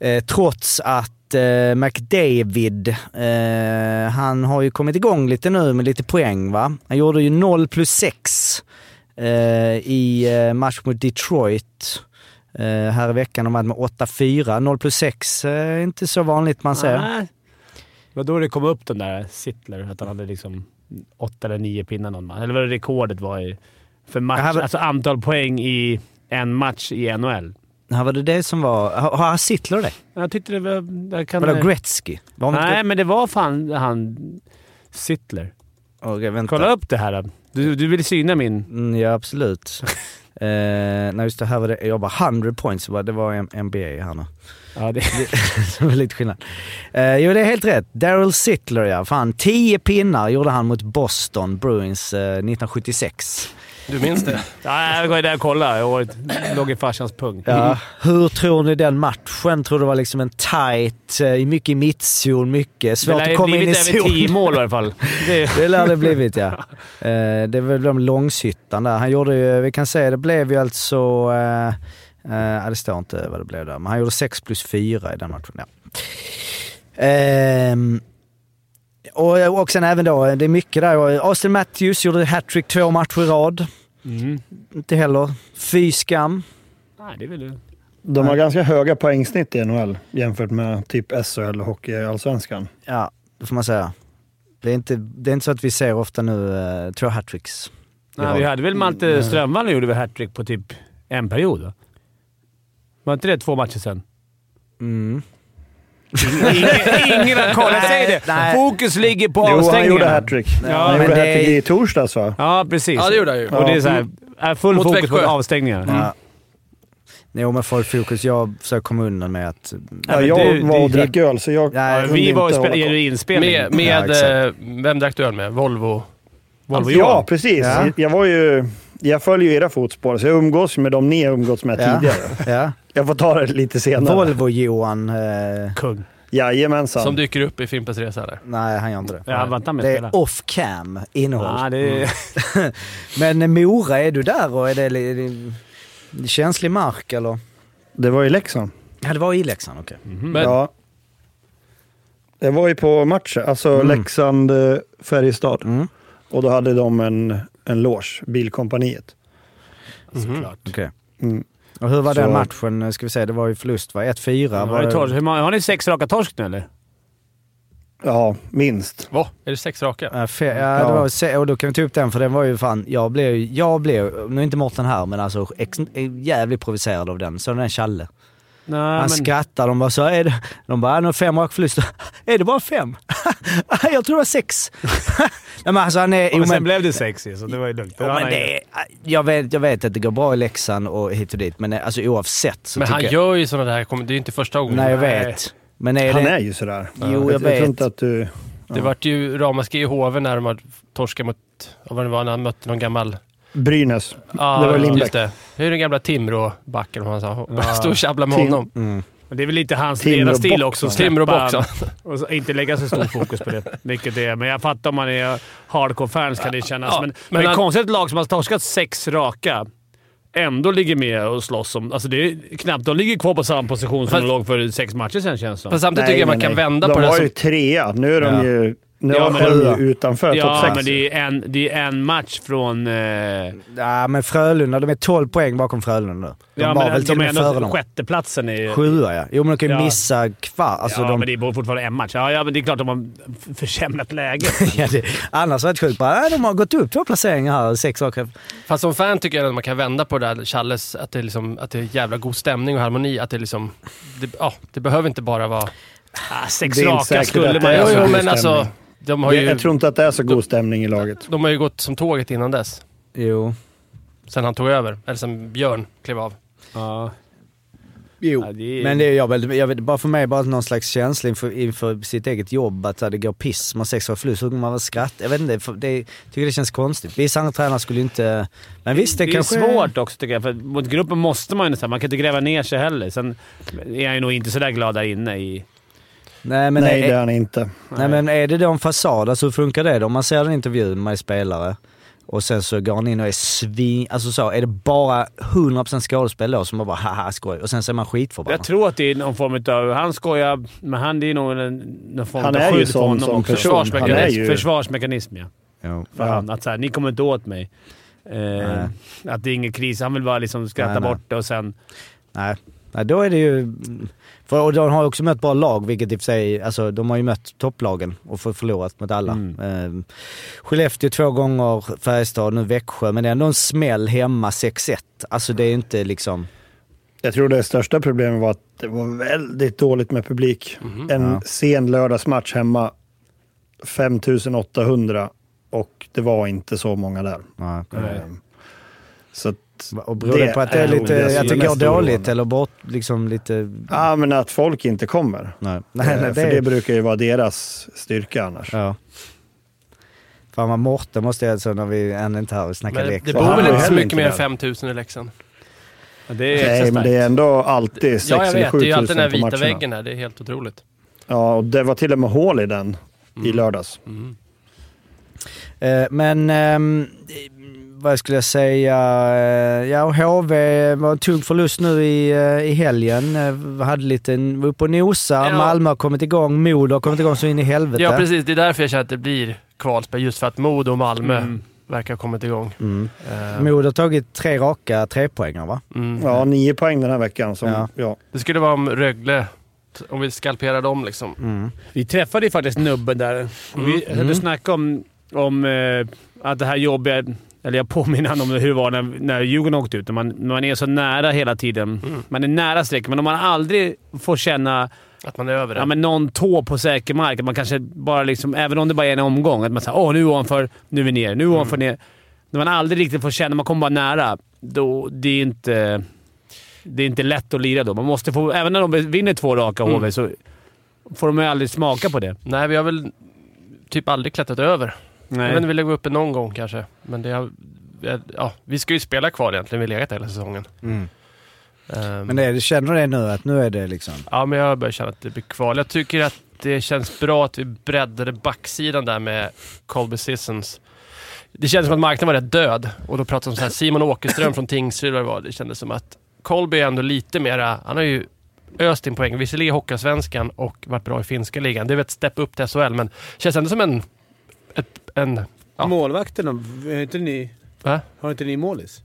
Eh, trots att eh, McDavid, eh, han har ju kommit igång lite nu med lite poäng va. Han gjorde ju 0 plus 6 eh, i eh, match mot Detroit. Eh, här i veckan de hade med 8-4. 0 plus 6 är eh, inte så vanligt man ser. Nej. Det var då Ah. det kom upp den där Sittler, att han hade liksom åtta eller nio pinnar någon match. Eller vad rekordet var i, för match, Det här var- alltså antal poäng i en match i NHL. Här var det det som var... Har har Sittler det? Jag tyckte det var... Jag kan, Vadå Gretzky? Var han- Nej, men det var fan han Sittler. Okej, vänta. Kolla upp det här. Du, du vill syna min... Mm, ja, absolut. eh, nej, just det. Här var det. Jag bara 100 points. va? Det var M- NBA här nu. Ja, det, det var lite skillnad. Eh, jo, det är helt rätt. Daryl Sittler ja. Fan, 10 pinnar gjorde han mot Boston Bruins eh, 1976. Du minns det? ja, jag går där och kollar. Jag var, låg i farsans pung. Mm. Ja. Hur tror ni den matchen? Tror du det var liksom en tight, eh, mycket i mittzon, mycket Det svårt lär att ju komma in i blivit över zon. tio mål i alla fall. Det, Det lär det blivit ja. Eh, Det var de Långshyttan där. Han gjorde ju, vi kan säga det blev ju alltså, eh, eh, det står inte vad det blev där, men han gjorde 6 plus 4 i den matchen. Ja. Ehm, och, eh, och sen även då, det är mycket där. Austin Matthews gjorde hattrick två matcher i rad. mm. Inte heller. Fy skam. Nej, det är väl... De har ganska höga poängsnitt i NHL jämfört med typ SHL och Hockeyallsvenskan. Ja, det får man säga. Det är inte, det är inte så att vi ser ofta nu eh, två hattricks. Nej, vi hade väl Malte Strömvall och gjorde väl hattrick på typ en period? va? Var inte det två matcher sen? Mm. Ingen, ingen har koll. Jag säger det. Nej. Fokus ligger på Jo, han gjorde avstängningarna. hattrick. Ja, han men gjorde det är- hattrick i torsdags va? Ja, precis. Ja, det gjorde han ju. Och det är så här, är full Mot fokus på Växjö. avstängningar. Ja. Jo men full fokus, jag försöker komma undan med att... Ja, men jag du- var och du- drack öl, så jag Nej, kunde Vi inte var och hålla spelade koll. i inspelning. Med, Ja, med exakt. eh, vem drack du öl med? Volvo? Volvo Ja, precis. Ja. Jag var ju... Jag följer ju era fotspår, så jag umgås med dem ni har umgåtts med Ja. tidigare. Ja. Jag får ta det lite senare. Volvo-Johan... Eh, Kung. Jajamensan. Som dyker upp i Fimpens Resa eller? nej, han gör inte det. Ja, han var inte med det och är spelade. off-cam innehåll. Ja, det är... Men eh, Mora, är du där och är det, li- li- känslig mark eller? Det var i Leksand. Ja, det var i Leksand, okej. Men Ja. Jag var ju på matchen, alltså Leksand-Färjestad. Mm. Och då hade de en, en loge, Bilkompaniet. Såklart. Okej. Mm. Och hur var Så- den matchen? Eh, Ska vi säga, det var ju förlust va? 1-4 var Har, ni det. torsk, hur många, har ni sex raka torsk nu eller? Ja, minst. Va? Är det sex raka? Ja, fe- ja, det var, se- och då kan vi ta upp den för den var ju fan, jag blev, jag blev, nu är inte Mårten här men alltså ex, jävligt provocerad av den. Så den challe. Nej, Han skrattar, de bara så är det, de bara nu fem raka förluster. Är det bara fem? jag tror det var sex. Nej men alltså han är... men, jo, men sen men- blev det sex ju, så det var ju lugnt. Jo, men det, är- jag, vet, jag vet att det går bra i Leksand och hit och dit, men alltså oavsett så Men han tycker gör ju sådana där kom- Det är ju inte första jag... gången. Nej, jag vet. Men är Han det... är ju sådär. Jo, jag Jag vet. tror inte att du... Det vart ju ramaskri i hoven när de hade torskat mot... Vad var det var när han mötte någon gammal... Brynäs. Ja, Det var Lindbäck. just det. Det är den gamla Timrå-backen, vad han sa. Stå och tjabbla med Tim- honom. Men det är väl lite hans Timrå ledarstil boxen. också. att Timrå släppa- boxen. Och så inte lägga så stor fokus på det, vilket det är. Men jag fattar om man är hardcore-fans kan det kännas. Ja, men, men men det är att- konstigt att ett lag som har torskat sex raka ändå ligger med och slåss om... Alltså det är knappt... De ligger kvar på samma position som Fast- de låg för sex matcher sen känns det som. Fast samtidigt tycker jag man kan vända de på det. var här ju som- trea. Nu är de Ja. ju... Nu Ja, ja, men- är de ju utanför topp Ja, sex. men det är en, det är en match från... Eh, ja, Ja, men Frölunda, de är 12 poäng bakom Frölunda. nu. De var men alltså, väl till och de är med före ändå dem. sjätteplatsen i... Sjua ja. Jo men de kan ju Ja. missa kvar. Alltså, ja, de... men det är fortfarande en match. Ja, ja, men det är klart de har f- försämrat läget. ja, det... Annars var det sjukt bara, nej, de har gått upp två placeringar här, sex raka. Fast som fan tycker jag att man kan vända på det där Challes, att det är, liksom, att det är jävla god stämning och harmoni. Att det liksom... Det, ja, det behöver inte bara vara... Ah, sex Det är inte raka säkert skulle att man det är Jo, så jo, god men alltså... stämning. De har Det- ju, Jag tror inte att det är så god stämning i laget. de har ju gått som tåget innan dess. Jo. Sen han tog över. Eller sen Björn klev av. Ja. Jo. Ja, det är- Men det är jag väl, jag vet, bara för mig bara någon slags känsla inför, inför sitt eget jobb att så här, det går piss, man har sex raka förlust, så kommer man väl skratta. Jag vet inte, för det, jag tycker det känns konstigt. Vissa andra tränare skulle inte... Men visst, det, Det, kanske... är svårt också tycker jag, för mot gruppen måste man ju nästan... Man kan inte gräva ner sig heller. Sen är jag ju nog inte sådär glad där inne i... Nej eh- men, Nej, är, det är han inte. nej men är det då en fasad? Alltså hur funkar det då? Om man ser en intervju med en spelare och sen så går han in och är svin... Alltså så, är det bara 100% skådespel då som man bara haha skoj och sen så är man Jag skitförbannad? tror att det är någon form av... Han skojar, men han, det är nog en, någon form Han av är ju skydd för sån honom som också. person. Han är Försvarsmekanism, ju- försvarsmekanism ja. Jo. För Ja. han, att såhär, ni kommer inte åt mig. Eh, att det är ingen kris. Han vill bara liksom skratta Nej, nej. bort det och sen... Nej. Nej, då är det ju... För, och de har också mött bra lag, vilket i och för sig... Alltså de har ju mött topplagen och för, förlorat mot alla. Mm. Eh, Skellefteå två gånger, Färjestad, nu Växjö. Men det är ändå en smäll hemma 6-1. Alltså det är inte liksom... Jag tror det största problemet var att det var väldigt dåligt med publik. Mhm. En Ja. sen lördagsmatch hemma, 5800, och det var inte så många där. Nej. Ehm, Så att, Och beror det, Det på att det är är lite, roligast. att det Det är går mest dåligt oroande. eller bort, liksom lite... ja, men att folk inte kommer. Nej, Ehm, nej, nej För det, det brukar ju vara deras styrka annars. Ja. Fan vad Mårten måste jag alltså när vi ännu inte är här och snackar Men det, lek. det Och han bor väl var inte ju så heller mycket inte mer än där. 5000 i Leksand? Det är Nej, extra men det är starkt. ändå alltid 6 Ja, jag eller vet. 7 Det 000 är ju alltid den här på vita matcherna. väggen här. Det är helt otroligt. Ja, och det var till och med hål i den Mm. i lördags. Eh, Men ehm, vad skulle jag säga? Eh, Ja, och HV var en tung förlust nu i, eh, i helgen. Eh, vi Hade lite, var uppe och nosa. Ja. Malmö har kommit igång, Modo har kommit igång så in i helvete. Ja, precis. Det är därför jag känner att det blir kvalspel. Just för att Modo och Malmö Mm. verkar ha kommit igång. Mm. Eh, Modo har tagit tre raka trepoängar va? mm. Ja, nio poäng den här veckan. Som, Ja. ja. Det skulle vara om Rögle, t- om vi skalperar dem liksom. Mm. Vi träffade ju faktiskt nubben där. Och Vi satt och snackade om, om eh, att det här jobbiga... Eller jag påminner honom om hur det var när, när Djurgården åkte ut. När Man, när man är så nära hela tiden. Man är nära strecket, men om man aldrig får känna Att man är över det. ja, men någon tå på säker mark. Att man kanske bara liksom, även om det bara är en omgång, att man säger åh nu är vi ovanför, nu är vi ner, nu är vi ovanför, ner. När man aldrig riktigt får känna, man kommer bara nära, då, det är inte... Det är inte lätt att lira då. Man måste få, även när de vinner två raka HV så får de ju aldrig smaka på det. Nej, vi har väl typ aldrig klättrat över. Jag vet inte, vi lägger uppe någon gång kanske. Men det har, ja, vi ska ju spela kvar egentligen. Vi har legat hela säsongen. Ehm, Men det, känner du det nu att nu är det liksom... Ja, men jag börjar känna att det blir kval. Jag tycker att det känns bra att vi breddade backsidan där med Colby Sissons. Det kändes som att marknaden var rätt död och då pratade de om så här Simon Åkerström från Tingsryd vad det var. Det kändes som att Colby är ändå lite mera... Han har ju öst in poäng. Visserligen i Hockeyallsvenskan och varit bra i finska ligan. Det är väl ett step upp till SHL, men känns ändå som en... Ett, en Ja. Målvakterna, är inte ni, va? har inte ni målis?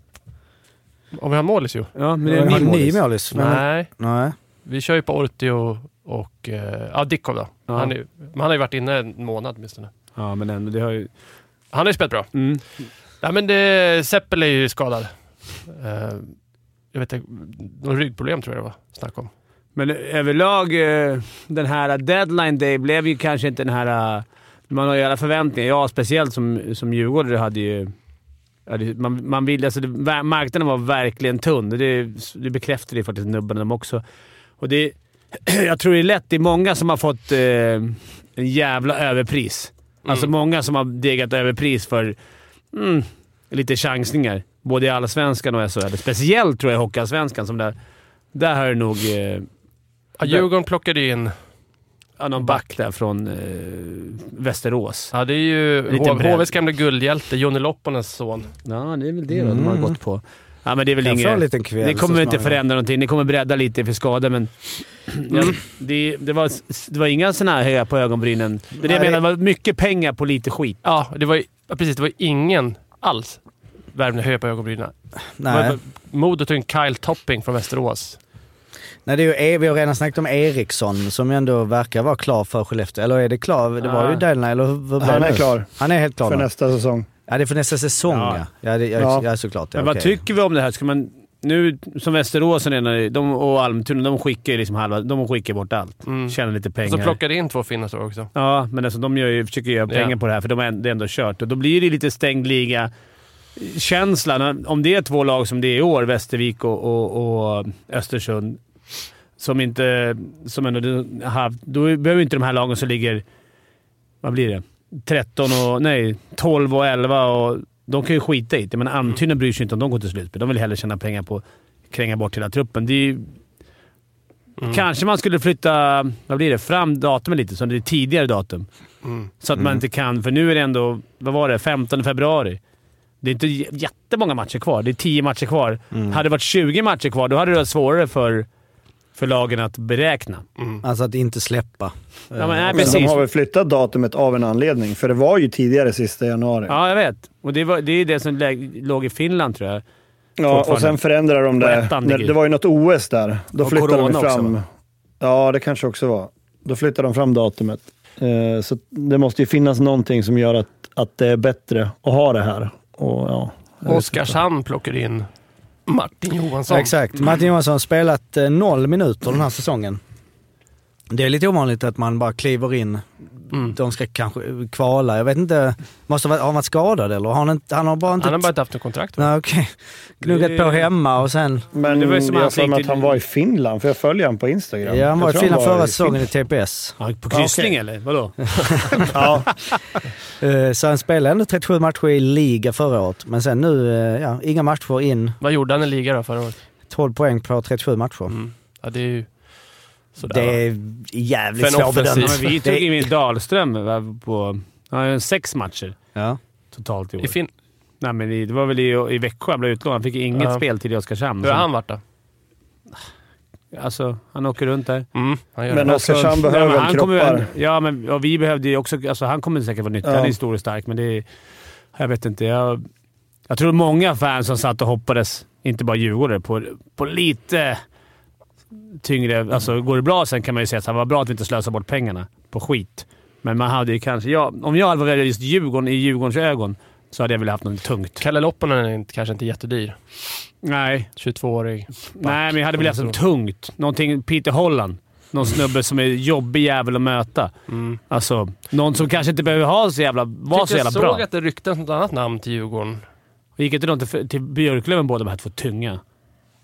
Om vi har målis ju. Ja, men Har ni målis? Nej, Nej. vi kör ju på Ortio och... eh, Ja, Dickov då. Ja. Han, är, ju- men han har ju varit inne en månad åtminstone. Ja, men ändå. Det har ju... Han har ju spelat bra. Mm. Nej, men det, Seppel är ju skadad. Eh, jag vet inte, något ryggproblem tror jag det var snack om. Men överlag, eh, den här deadline day blev ju kanske inte den här... eh, Man har ju alla förväntningar. Jag speciellt som, som djurgårdare hade ju... hade- Man, man ville, alltså, det, ver- marknaden var verkligen tunn. Det, det bekräftade ju faktiskt nubbarna de också. Och det, jag tror det är lätt. Det är många som har fått eh, en jävla överpris. Alltså många som har degat överpris för mm, lite chansningar. Både i Allsvenskan och SHL. Speciellt tror jag i Hockeyallsvenskan. Som där, där har det nog... Eh, Ja, Djurgården plockade ju in... Ja, någon back där från eh, Västerås. Ja, det är ju Liten H- bredd. HVs gamla guldhjälte, Jonny Lopponens son. Ja, det är väl det då de har Mm. gått på. Ja, men det är väl Jag får en inget... liten kväll Det så kommer inte småningom. förändra någonting. Det kommer bredda lite för skada, men... Ja, Mm. det, det, var, det var inga sådana här höga på ögonbrynen. Det är det jag Nej. menar. Det var mycket pengar på lite skit. Ja, det var ju, ja, precis. Det var ju ingen alls värvning höja på ögonbrynen. Nej. Men- Modo tog in Kyle Topping från Västerås. Nej, det är ju, E- vi har redan snackat om Eriksson som ju ändå verkar vara klar för Skellefteå. Eller är det klar? Det var ju Ah. deadline, eller hur- vad blev Han det är nu? klar Han är helt klar för nu. nästa säsong. Ja, det är för nästa säsong ja. Ja. Ja, det, ja, Ja. ja såklart. Ja, Men vad okej. tycker vi om det här? Ska man... Nu, som Västerås och ena- de, och Almtuna, de skickar ju liksom halva... De skickar bort allt. Mm. Tjänar lite pengar. Och så plockade in två finnar tror jag också. Ja, men alltså, de gör ju, försöker göra pengar på det här, för de har ändå, det är ändå kört. Och då blir det lite stängd liga-känslan. Om det är två lag som det är i år, Västervik och, och, och Östersund, som inte... Som ändå, har- då behöver inte de här lagen som ligger... Vad blir det? 13 och... Nej, 12 och 11 och... De kan ju skita i det, men Almtuna bryr sig inte om de går till slutspel. De vill hellre tjäna pengar på att kränga bort hela truppen. Det är ju Mm. Kanske man skulle flytta vad blir det, fram datumet lite, så det är tidigare datum. Så att man inte kan, för nu är det ändå, vad var det, 15 februari. Det är inte j- jättemånga matcher kvar. Det är 10 matcher kvar. Hade det varit 20 matcher kvar, då hade det varit svårare för, för lagen att beräkna. Alltså att inte släppa. Ja, men, nej, Men de precis. har väl flyttat datumet av en anledning, för det var ju tidigare sista januari. Ja, jag vet. Och det, var, det är det som lä- låg i Finland, tror jag. Ja, och fortfarande. sen förändrar de Och det. ettan När, ligger. det var ju något OS där. Då Och flyttade de corona ju också, fram. va? ja, det kanske också var. Då flyttade de fram datumet. Eh, så det måste ju finnas någonting som gör att, att det är bättre att ha det här. Och, ja, jag vet inte. Oskarshamn plockade in Martin Johansson. Exakt. Martin Johansson har spelat eh, noll minuter den här säsongen. Det är lite ovanligt att man bara kliver in. Mm. De ska kanske eh, kvala. Jag vet inte. Måste, ha varit- har han varit skadad eller? Har han, inte, han har bara inte... Han har bara inte haft något kontrakt. va? Nej, okej. Gnuggat Det- på hemma och sen... Men Det det var var ju som jag har hans för mig att riktigt- han var i Finland, för jag följer honom på Instagram. Ja, han var Jag i tror Finland var förra i säsongen i TPS. Ja, på kryssning eller? Vadå? Ja, Eh, Så han spelade ändå 37 matcher i liga förra året. Men sen nu, eh, ja, inga matcher in. Vad gjorde han i ligan då förra året? 12 poäng på 37 matcher. Mm. Ja, det är ju sådär. Det va? är jävligt För en offensiv. Ja, svårbedömt. men vi tog Det- in Dahlström va, på ja, sex matcher Ja. totalt i år. I fin... Nej, men i- det var väl i, i Växjö han blev utlånad. Han fick inget Ja. speltid i Oskarshamn. Hur har han varit då? Alltså, han åker runt där. Mm, han gör Men det. Oskarshamn behöver Nej, men väl han kommer kroppar? väl- Ja, men och vi behövde ju också... Alltså, han kommer säkert vara nyttig. Han är Ja. ju stor och stark, men det är, Jag vet inte. Jag, jag tror många fans som satt och hoppades, inte bara djurgårdare, på, på lite tyngre... Alltså, går det bra sen kan man ju säga att det var bra att vi inte slösade bort pengarna på skit. Men man hade ju kanske... Ja, om jag hade varit just Djurgården i Djurgårdens ögon så hade jag velat haft något tungt. Kalle Lopponen är inte- kanske inte jättedyr. Nej, 22-årig. Nej, men jag hade velat ha tungt. Någonting Peter Holland. Någon Mm. snubbe som är jobbig jävel att möta. Alltså, någon som kanske inte behöver ha så jävla, var så jävla jag såg bra. att det ryktades något annat namn till Djurgården. Gick inte de till, till Björklöven båda de här två tunga?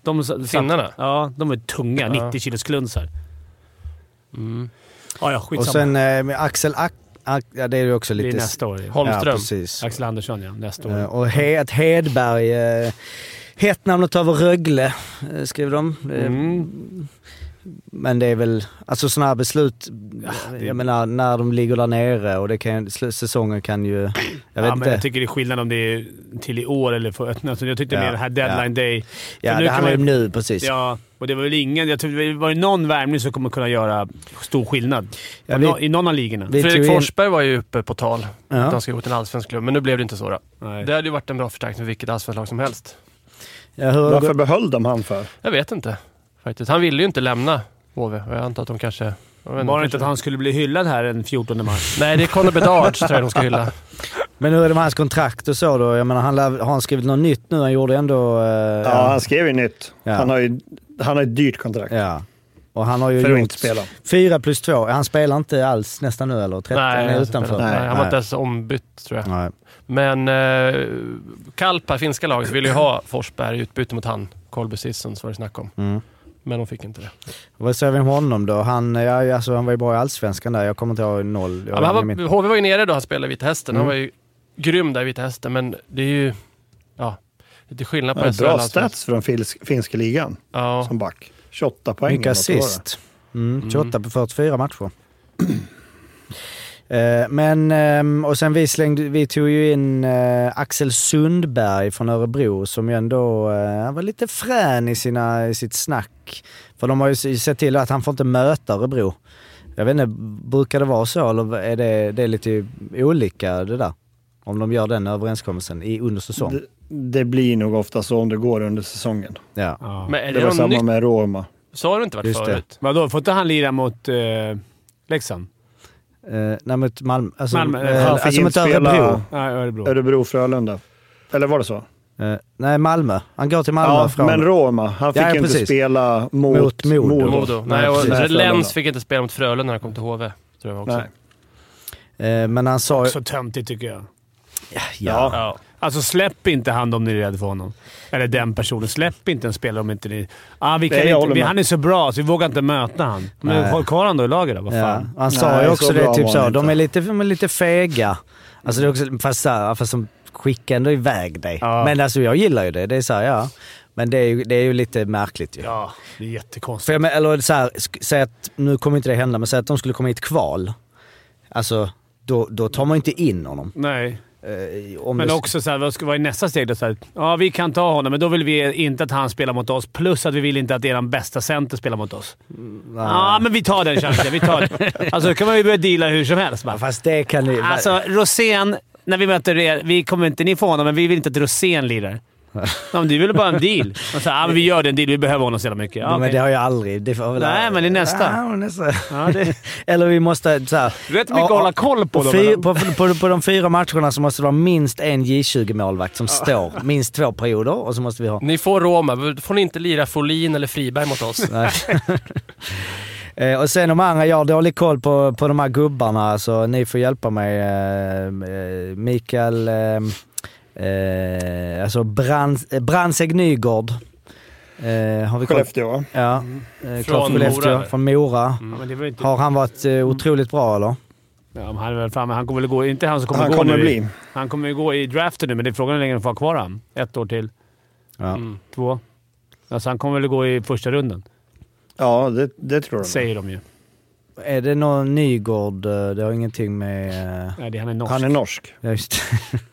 De s- satt- Finnarna? Ja, de är tunga. Ja. 90 kilos klunsar. Mm. Ja, ja, skitsamma. Och sen eh, med Axel Ak... Ak ja, det är ju också det lite... är nästa år. Ja, Holmström. precis. Axel Andersson, ja. Nästa år. Eh, Och he att Hedberg... Mm. Eh, hett namn att ta över Rögle, eh, skriver de. Eh, Men det är väl, alltså sådana här beslut, jag menar när de ligger där nere och det kan, sl- säsongen kan ju... Jag vet ja, men inte. jag tycker det är skillnad om det är till i år eller för, alltså, Jag tyckte Ja, mer den här deadline day. För ja, nu det kan handlar ju man- om nu precis. Ja, och det var väl ingen... Jag tyckte, var det någon värmning som kommer kunna göra stor skillnad? Ja, På vi- no, I någon av ligorna? vi Fredrik tog in- Forsberg var ju uppe på tal Ja. att han skulle gå till en allsvensk klubb, men nu blev det inte så. Då. Nej. Det hade ju varit en bra förstärkning för vilket allsvenskt lag som helst. Ja, hur har det gått? Varför behöll de han för? Jag vet inte faktiskt. Han ville ju inte lämna HV och jag antar att de kanske... jag vet Var det kanske- inte att han skulle bli hyllad här den 14 mars? Nej, det är Conor Bedard tror jag de ska hylla. Men hur är det med hans kontrakt och så då? Jag menar, han lär, har han skrivit något nytt nu? Han gjorde ändå... eh, Ja, han skrev ju nytt. Ja. Han, har ju, han har ett dyrt kontrakt ja. Och han har ju för att gjort... inte spela. Fyra plus två. Han spelar inte alls nästan nu eller? 13 Nej, är han utanför. spelar- Nej, han var inte ens ombytt tror jag. Nej. Men eh, Kalpa, finska laget, ville ju ha Forsberg i utbyte mot han, Kolbe Sisson, så var det snack om. Mm. Men de fick inte det. Vad säger vi om honom då? Han, ja, alltså, han var ju bra i Allsvenskan där. Jag kommer inte ihåg noll. Jag Ja, men han ingen var, min- HV var ju nere då han spelade i Vita Hästen. Han Mm. var ju grym där i Vita Hästen, men det är ju... Ja, lite skillnad på Ja, SHL, bra alltså. stats från finsk, finska ligan Ja, som back. 28 poäng. Mycket eller något var det. assist. Mm, 28 på 44 matcher. Eh, Men, ehm, och sen vi, slängde, vi tog ju in eh, Axel Sundberg från Örebro som ju ändå eh, han var lite frän i, sina, i sitt snack. För de har ju se- sett till att han får inte möta Örebro. Jag vet inte, brukar det vara så eller är det, det är lite olika det där? Om de gör den överenskommelsen i, under säsong. Det blir nog ofta så om det går under säsongen. Ja. Ja. men är Det det, var någon samma nytt? med Roma. Sa du inte varit Just det. förut? Vadå, får inte han lira mot eh, Leksand? Eh, nej, mot Malmö. Alltså, Malmö, eh, han fick alltså mot inte spela- Örebro. Nej, Örebro. Örebro-Frölunda. Eller var det så? Eh, nej, Malmö. Han går till Malmö ja, från... men Roma. Han fick Ja, ja, inte precis. spela Mot mot, Modo. Modo. Nej, Nej, och precis. Lens fick inte spela mot Frölunda när han kom till HV. Tror jag också. Nej. Eh, men han sa ju... Så töntigt tycker jag. Ja. Ja. Alltså släpp inte han om ni är rädda för honom. Eller den personen. Släpp inte en spelare om inte ni... Ah, vi kan Nej, jag inte, håller vi, med. han är så bra så vi vågar inte möta han. Men Nej. håll kvar han då i laget då. Vad Ja. fan. Han sa Nej, ju så också bra det, typ var så. han De inte. är lite, de är lite fega. Alltså det är också, fast, så här, fast de skickar ändå iväg dig. Ja. Men alltså jag gillar ju det. Det är så här, ja. Men det är ju, det är ju lite märkligt ju. Ja, det är För jättekonstigt. jag men, eller så här, sk- säg att, nu kommer inte det hända, men säg att de skulle komma i ett kval. Alltså, då, då tar man ju inte in honom. Nej, Eh, om men det- också såhär, vad ska vara i nästa steg? Då, så här, ja, vi kan ta honom, men då vill vi inte att han spelar mot oss. Plus att vi vill inte att er bästa center spelar mot oss. Ja, men vi tar den chansen. Vi tar den. Alltså, då kan man ju börja deala hur som helst. Bara. Fast det kan ju... Alltså, Rosén, när vi möter er, vi kommer inte, ni får honom, men vi vill inte att Rosén lirar. Ja, men det är väl bara en deal. Och så, ja, men vi gör den deal. Vi behöver honom så jävla mycket. Ja, men okej. det har jag aldrig... Det får väl- Nej, men det är nästa. Ja, nästa. Ja, det- Eller vi måste så här, Du vet mycket att hålla koll på dem, Fy, eller? på, på, på de fyra matcherna så måste det vara minst en J20-målvakt som står minst två perioder och så måste vi ha... Ni får Roma, men får ni inte lira Folin eller Friberg mot oss? Nej. Eh, och sen de andra, jag har dålig koll på, på de här gubbarna så ni får hjälpa mig. Eh, eh, Mikael... Eh, eh, alltså Brans, eh, Brandseg Nygård. Eh, har vi koll? Skellefteå. Ja, eh, Från från Skellefteå. Mora, eller? Från Mora. Ja, men det var inte... Har han varit eh, otroligt bra eller? Ja, men han är väl framme. Han kommer väl gå... Inte han som kommer Han gå kommer nu. i- bli. Han kommer ju gå i draften nu, men det är frågan hur länge de får ha kvar han. Ett år till. Ja. Mm. Två. Alltså han kommer väl gå i första rundan, Ja, det, det tror jag. säger de ju. Är det någon Nygård? eh, Det har ingenting med... eh, Nej, det, han är norsk. Han är norsk. Ja, just det.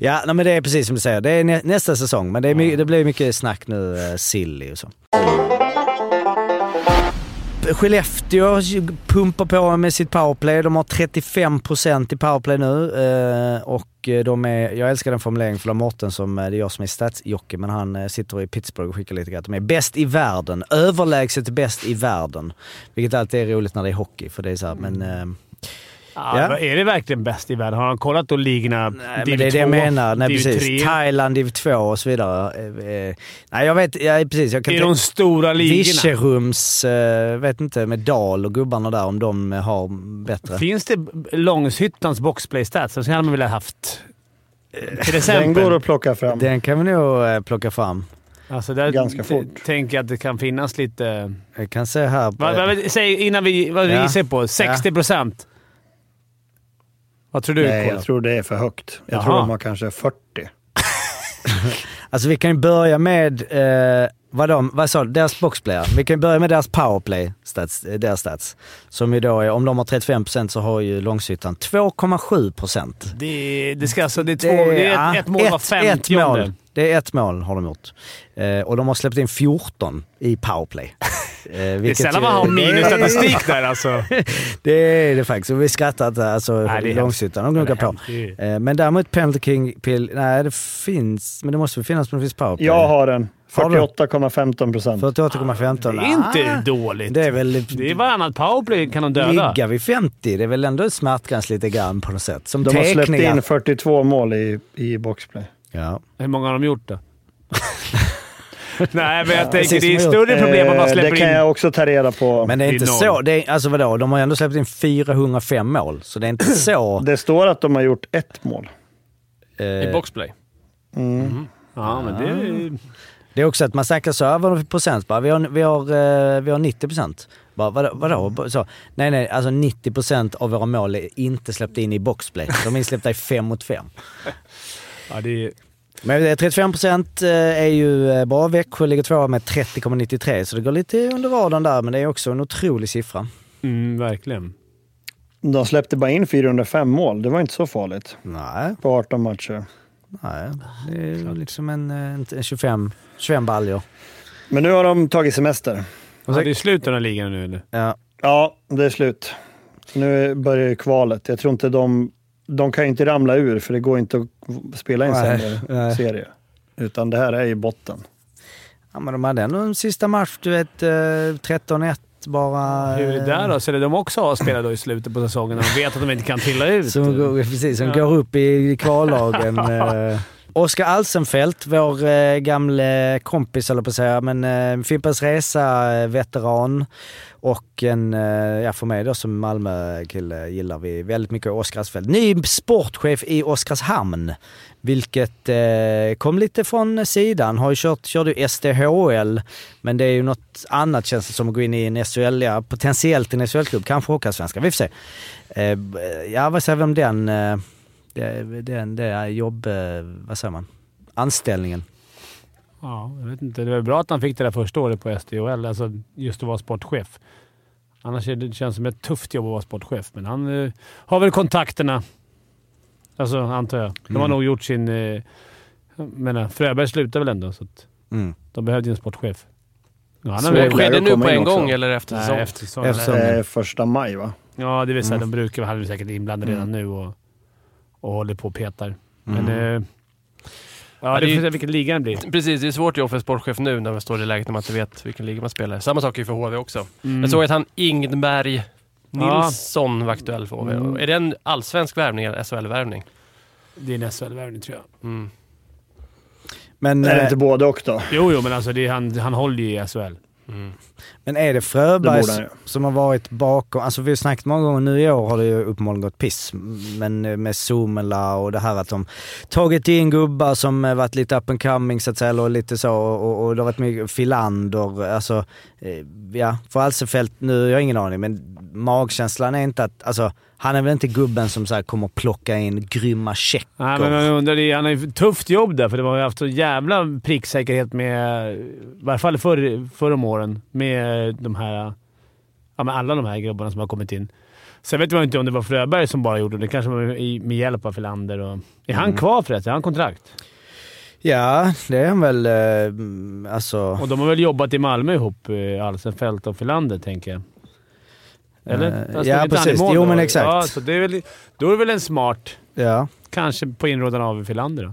Ja, nej, men det är precis som du säger. Det är nä- nästa säsong, men det, är my- det blir mycket snack nu. eh, Silly och så. Skellefteå pumpar på med sitt powerplay. De har 35% i powerplay nu. eh, Och eh, de är, jag älskar den formuleringen för Mårten som, eh, det är jag som är statsjockey, men han eh, sitter i Pittsburgh och skickar lite grann. De är bäst i världen. Överlägset bäst i världen. Vilket alltid är roligt när det är hockey, för det är så här, men... eh, ja. Ja. men Är det verkligen bäst i världen? Har han kollat då ligorna? Nej, men det är det jag menar. Nej, div precis. 3. Thailand, div 2 och så vidare. Eh, eh, Nej, jag vet. Ja, precis. Jag kan Det är de tänka- stora ligorna. Vischerums, eh, vet inte, med Dal och gubbarna där om de eh, har bättre. Finns det Långshyttans boxplay-stats? Den hade man velat haft. eh, Till Den exempel. går att plocka fram. Den kan vi nog eh, plocka fram. Alltså där ganska t- fort. tänker jag att det kan finnas lite... Jag kan se här. På, Vad, vad, säg innan vi... Vad Eh. Ja. vi ser på? 60 procent? Vad tror du? Nej, Kåre? jag tror det är för högt. Jag Jaha. tror de har kanske 40. Alltså vi kan ju börja med eh, vad, de, vad sa du? Deras boxplayer. Vi kan börja med deras powerplay, stats, eh, deras stats. Som ju då är, om de har 35% så har ju Långshyttan 2,7%. Det, det, ska alltså, det är två... Det är, ett, ja, ett mål var ett mål. femtionde. Det är ett mål har de gjort. Eh, och de har släppt in 14 i powerplay. Eh, Det är vilket sällan ju- man har Det minusstatistik där alltså. är- Det är det faktiskt. Och vi skrattar inte. Alltså, Nej, det är Långshyttan, de gnuckar Det är på. hemskt. Eh, men däremot Penalty King Pill, nej det finns, men det måste väl finnas, men det finns powerplay. Jag har den. Har du? 48,15 procent. 48,15. Det är inte Ah, dåligt. Det är väl... Det är varannat powerplay kan de döda. Ligga vid 50, det är väl ändå smärtgräns lite grann på något sätt. Som De har släppt teckningar. in 42 mål i, i boxplay. Ja. Hur många har de gjort då? Nej, men jag tänker precis det är ett som större problem om man Eh, släpper det kan in... jag också ta reda på. Men det är Det är inte noll. så. Det är, alltså vadå? De har ju ändå släppt in 405 mål, så det är inte så... eh, Det står att de har gjort ett mål. I boxplay. Ja, men det är... Det är också att man snackar så här, vad har vi för procent? Bara, vi, har, vi, har, eh, vi har 90 procent. Bara, vadå? vadå? Så, nej, nej, alltså 90 procent av våra mål är inte släppta in i boxplay. De är insläppta i fem mot fem. Ja, det är... Men det är 35 procent är ju eh, bra. Växjö ligger tvåa med 30,93 så det går lite under radarn där, men det är också en otrolig siffra. Mm, verkligen. De släppte bara in 405 mål. Det var inte så farligt Nej, på 18 matcher. nej. Det är ju liksom en, eh, en, en 25, 25 baljor. Men nu har de tagit semester. Ja, det är slut på den här ligan nu eller? Ja. Ja, det är slut. Nu börjar ju kvalet. Jag tror inte de... De kan ju inte ramla ur, för det går inte att spela i en Nej, sämre nej. serie. Utan det här är ju botten. ja, men de hade ändå en sista match, du vet, eh, 13-1 bara. Hur är det där då? Så är det de också har spelat då i slutet på säsongen när de vet att de inte kan trilla ut? Som, går, precis, som går upp i kvallagen. eh. Oskar Alsenfelt, vår eh, gamle kompis eller på att säga, men eh, Fimpens Resa-veteran och en, eh, ja för mig då som Malmö-kille gillar vi väldigt mycket Oskar Alsenfelt. Ny sportchef i Oskarshamn, vilket eh, kom lite från sidan. Har ju kört, körde ju SDHL, men det är ju något annat känns det som att gå in i en SHL, ja, potentiellt en SHL-klubb, kanske Hockeyallsvenskan, vi får se. Eh, b- ja, vad säger vi om den, eh, det- den, det är jobb... eh, Vad säger man? Anställningen. Ja, jag vet inte. Det var bra att han fick det där första året på SDHL, alltså just att vara sportchef. Annars är det, det känns det som ett tufft jobb att vara sportchef, men han eh, har väl kontakterna. Alltså, antar jag. De har nog gjort sin... Eh, jag menar, Fröberg slutade väl ändå, så att Mm. de behövde ju en sportchef. Ja, han Så har väl- är det. Sker det Jag nu kommer på in en också. gång eller efter Nej, säsong? efter säsongen. Efter säsongen. Det Mm. är första maj, va? Ja, det vill säga de brukar Han är säkert inblandad redan nu och, och håller på och petar. Men... Eh, ja, det det är får ju- se vilken liga det blir. Precis, det är svårt jobb för en sportchef nu när man står i läget när man inte vet vilken liga man spelar. Samma sak är ju för HV också. Mm. Jag såg att han Ingberg Nilsson var aktuell för HV. Mm. Är det en allsvensk värvning eller SHL-värvning? Det är en SHL-värvning, tror jag. Men, Är det eh, inte både och då? Jo, jo, men alltså det är, han, han håller ju i SHL. men är det Det Fröberg borde han ju. som- som har varit bakom? Alltså vi har snackat många gånger nu i år har det ju uppenbarligen gått piss. Men eh, med Somela och det här att de tagit in gubbar som eh, varit lite up and coming så att säga, och lite så. Och, och det har varit mycket Filander. Alltså, eh, ja, för Alsenfelt nu, jag har ingen aning, men magkänslan är inte att, alltså han är väl inte gubben som så här kommer plocka in grymma checkar. Nej, men eh, man undrar, det är- han har ju ett tufft jobb där, för de har ju haft så jävla pricksäkerhet med... I varje fall förr, förr om åren, med de här... Ja, med alla de här grabbarna som har kommit in. Sen vet man ju inte om det var Fröberg som bara gjorde det. Det kanske var i, med hjälp av Filander. Och, är han Mm. kvar förresten? Har han kontrakt? Ja, det är han väl. Eh, alltså... Och de har väl jobbat i Malmö ihop, eh, Alsenfelt och Filander, tänker jag. Eller? Eh, Där stod ja, inte han i precis. mål Jo, då. men exakt. Ja, så det är väl, då är det väl en smart... Ja. Kanske på inrådan av Filander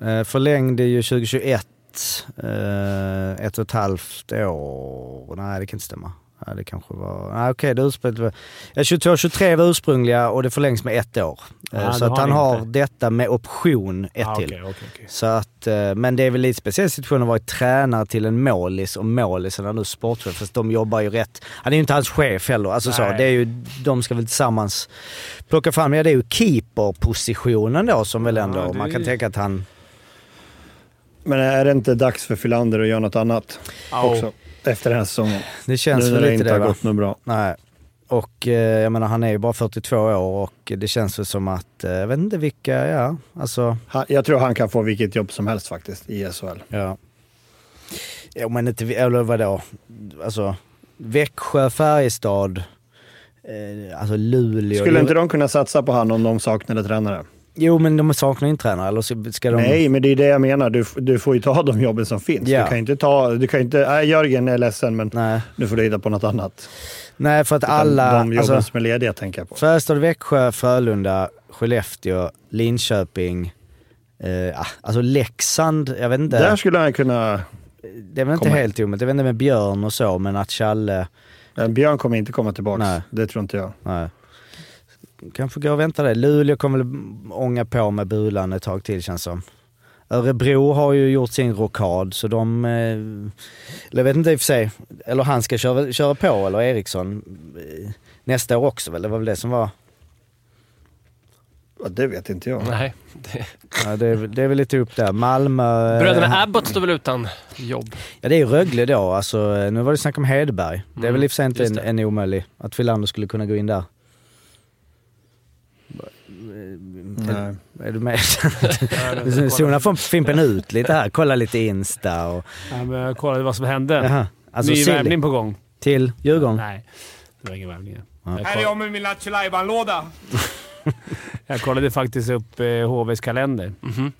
då. Eh, Förlängde ju 2021. Eh, ett och ett halvt år. Nej, det kan inte stämma. Nej, det kanske var... Nej, okej. Det utspelet var... Ja, 22-23 var ursprungliga och det förlängs med ett år. Eh, Ah, så då att har han ni har inte. detta med option ett Ah, till. okej, okej, okej. Så att, eh, men det är väl lite speciell situation att vara tränare till en målis och målisen är nu sportchef. Fast de jobbar ju rätt. Han är ju inte hans chef heller. Alltså så, Nej. det är ju, de ska väl tillsammans plocka fram, ja det är ju keeperpositionen då som väl ändå, Ja, det man är- kan tänka att han... Men är det inte dags för Filander att göra något annat också? Efter den här säsongen. Det känns nu väl när det lite inte det har va? gått något bra. Nej. Och eh, jag menar han är ju bara 42 år och det känns väl som att, eh, jag vet inte vilka, ja alltså... Han, jag tror han kan få vilket jobb som helst faktiskt i SHL. Ja. Jo men inte, eller vadå? Alltså, Växjö, Färjestad, eh, alltså Luleå. Skulle inte de kunna satsa på han om de saknade tränare? Jo men de saknar ju inte tränare, eller så ska de... Nej, men det är det jag menar. Du, f- du får ju ta de jobben som finns. Ja. Du kan ju inte ta... Du kan ju inte... Nej, Jörgen är ledsen, men Nej. nu får du hitta på något annat. Nej för att Utan alla... de jobben alltså, som är lediga tänker jag på. Färjestad, Växjö, Frölunda, Skellefteå, Linköping. Eh, ah, alltså Leksand, jag vet inte. Där skulle han kunna... det är väl inte kommer- helt omöjligt. Jag vet inte med Björn och så, men att Challe... Nej, eh, Björn kommer inte komma tillbaka. Nej. Det tror inte jag. Nej. Kanske gå och vänta det. Luleå kommer väl ånga på med Bulan ett tag till känns som. Örebro har ju gjort sin rokad så de... eh, Eller jag vet inte i och för sig. Eller han ska köra, köra på, eller Eriksson. eh, Nästa år också väl? Det var väl det som var... Ja, Det vet inte jag. Nej. Det- Ja, det, är, väl- det är väl lite upp där. Malmö... eh, Bröderna Abbott står väl utan jobb? Ja det är ju Rögle då. Alltså, eh, nu var det snack om Hedberg. Det är väl i och för sig inte Mm, just en, det. en omöjlig. Att Filander skulle kunna gå in där. Nej. Är du med? Nu zonar från Fimpen ut lite här. Kolla lite Insta och... eh, Jag började kolla vad som hände. Jaha. Alltså Ny Silly. värvning på gång. Till Djurgården? Nej, det var ingen värvning. Här är jag med min Lattjo låda Jag kollade faktiskt upp eh, HVs kalender. Mm.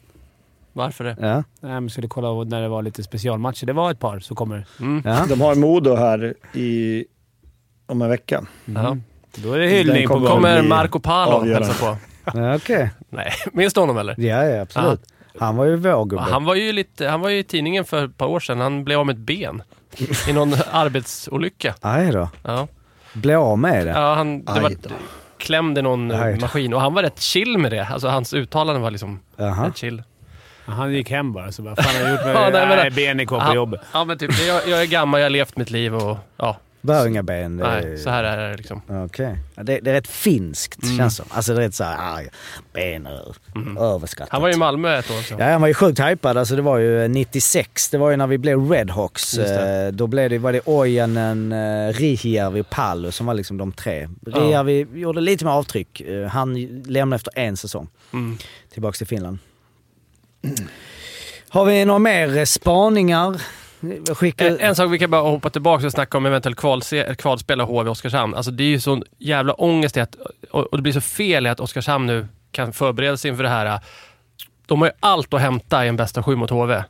Varför Mm. det? Ja. Nej, men jag skulle kolla när det var lite specialmatcher. Det var ett par som kommer. ja. De har Modo här i, om en vecka. Ja. Då är det hyllning Den på kommer- gång. Kommer blir Marco Palo avgörande. hälsa på? ja Okej. Nej, minns du honom eller? Ja, ja, absolut. Han var ju vår gubbe. Han var, ju lite, han var ju i tidningen för ett par år sedan. Han blev av med ett ben i någon arbetsolycka. Aj då. Ja. Blev av med det. Ja, han det Aj var då. klämd i någon eh, Aj då. maskin och han var rätt chill med det. Alltså hans uttalanden var liksom Jaha. rätt chill. Han gick hem bara, så vad fan har jag gjort med Ja, nej, men- nej, ben kvar på Ja, jobbet? Ja, men typ, jag, jag är gammal, jag har levt mitt liv och ja, Behöver inga ben. det är- nej, så här är det liksom. Okej. Ja, Det, det är rätt finskt Mm. känns som. Alltså det är rätt såhär, aj, ben ur. Överskattat. Han var ju i Malmö ett år sedan. Ja, han var ju sjukt hypad. Alltså det var ju 96, det var ju när vi blev Redhawks. Just det. Eh, Då blev det, var det Ojanen, eh, Rihijärvi och Pallo som var liksom de tre. Rihijärvi gjorde lite mer avtryck. Eh, Han lämnade efter en säsong. Mm. Tillbaks till Finland. Har vi några mer eh, spaningar? Jag Skickar... En, en sak vi kan bara hoppa tillbaka och snacka om eventuellt kvalse, kvalspel av HV och Oskarshamn. Alltså det är ju sån jävla ångest i att, och, och det blir så fel i att Oskarshamn nu kan förbereda sig inför det här. De har ju allt att hämta i en bästa sju mot HV.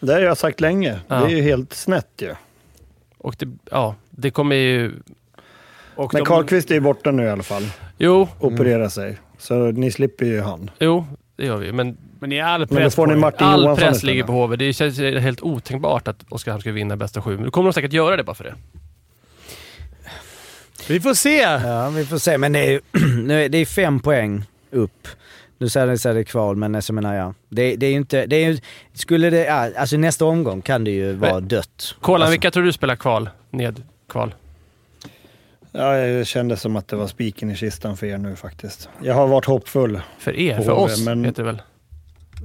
Det har jag sagt länge. Ja. Det är ju helt snett ju. Och det, ja, det kommer ju... Och Men de- Karlqvist är ju borta nu i alla fall. Jo, Operera sig. Så ni slipper ju han. jo, det gör vi ju. Men Men i all Men då press får ni på er. Martin all Johansson press istället. ligger på HV. Det känns ju helt otänkbart att Oskarshamn ska vinna bästa sju. Men då kommer de säkert göra det bara för det. Vi får se! Ja, vi får se. Men det är, ju- nu är, det är fem poäng upp. Nu säger ni att det är kval, men så menar jag. Det, det är ju inte... Det är, ju- skulle det... ja, Alltså nästa omgång kan det ju vara Men- dött. Kolan, alltså, vilka tror du spelar kval? Ned kval? Ja, jag kände som att det var spiken i kistan för er nu faktiskt. Jag har varit hoppfull. För er? På för HV, oss, men- heter det väl?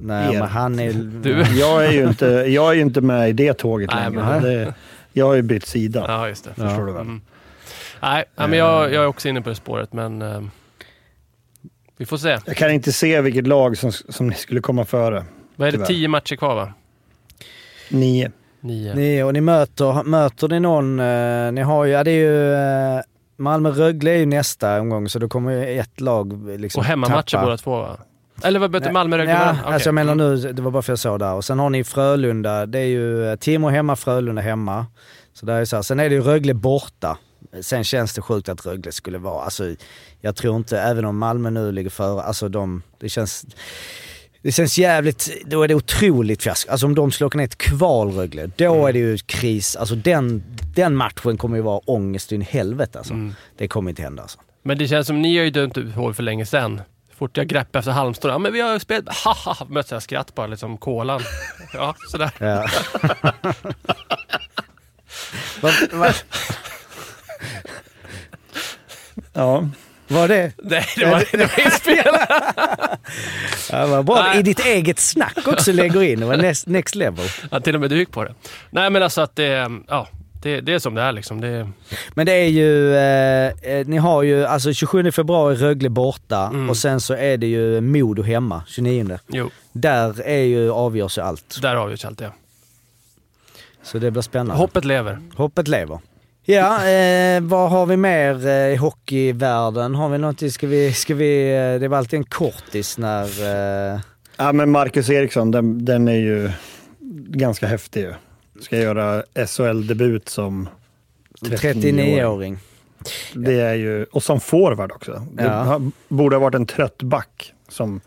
Nej, er? men han är... Du? Jag är ju inte, jag är ju inte med i det tåget Nej, längre. men- Det, jag har ju bytt sida. Ja, just det. Förstår du väl? Mm. Nej, ja, men jag, jag är också inne på det spåret, men eh, vi får se. Jag kan inte se vilket lag som, som ni skulle komma före. Vad är det? Tyvärr. Tio matcher kvar, va? Nio. Nio. Ni, och ni möter, möter ni någon... eh, ni har ju... Ja, det är ju... eh, Malmö-Rögle är ju nästa omgång, så då kommer ju ett lag eh, liksom och hemmamatcher tappa. båda två, va? Eller vad möter Malmö Rögle? Ja, varandra? Okej. alltså jag menar nu, det var bara för jag såg där. Och sen har ni Frölunda, det är ju eh, Timrå hemma, Frölunda hemma. Så där är det så här. Sen är det ju Rögle borta. Sen känns det sjukt att Rögle skulle vara, alltså jag tror inte, även om Malmö nu ligger före, alltså de, det känns... Det känns jävligt, då är det otroligt fiasko. Alltså om de skulle åka ner till kval Rögle, då Mm. är det ju kris. Alltså den, den matchen kommer ju vara ångest in i helvete alltså. Mm. Det kommer inte hända alltså. Men det känns som ni har ju dömt ut HV för länge sedan. Så Fort jag greppar efter Halmstad, ja men vi har ju spelat, haha, möts jag skratt bara liksom, kolan. Ja, sådär. Ja. vad, vad, Ja. var det? Nej, det var, det var inspelat. Ja, vad bra. Nej. I ditt eget snack också lägger in. Det var next, next level. Ja, till och med du gick på det. Nej men alltså att det, ja, det, det är som det är liksom. Det, Men det är ju, eh, eh, ni har ju alltså 27 februari Rögle borta och sen så är det ju Modo hemma 29. jo, Där är ju, avgörs ju allt. där avgörs allt det. Så det blir spännande. Hoppet lever. Hoppet lever. Ja, eh, vad har vi mer eh, i hockeyvärlden? Har vi någonting? Ska vi, ska vi, eh, det var alltid en kortis när... Eh, Ja, men Marcus Eriksson, den, den är ju ganska häftig ju. Ska göra SHL-debut som 39 år. 39-åring. Det är ju, och som forward också. Det Ja. ha- borde ha varit en trött back som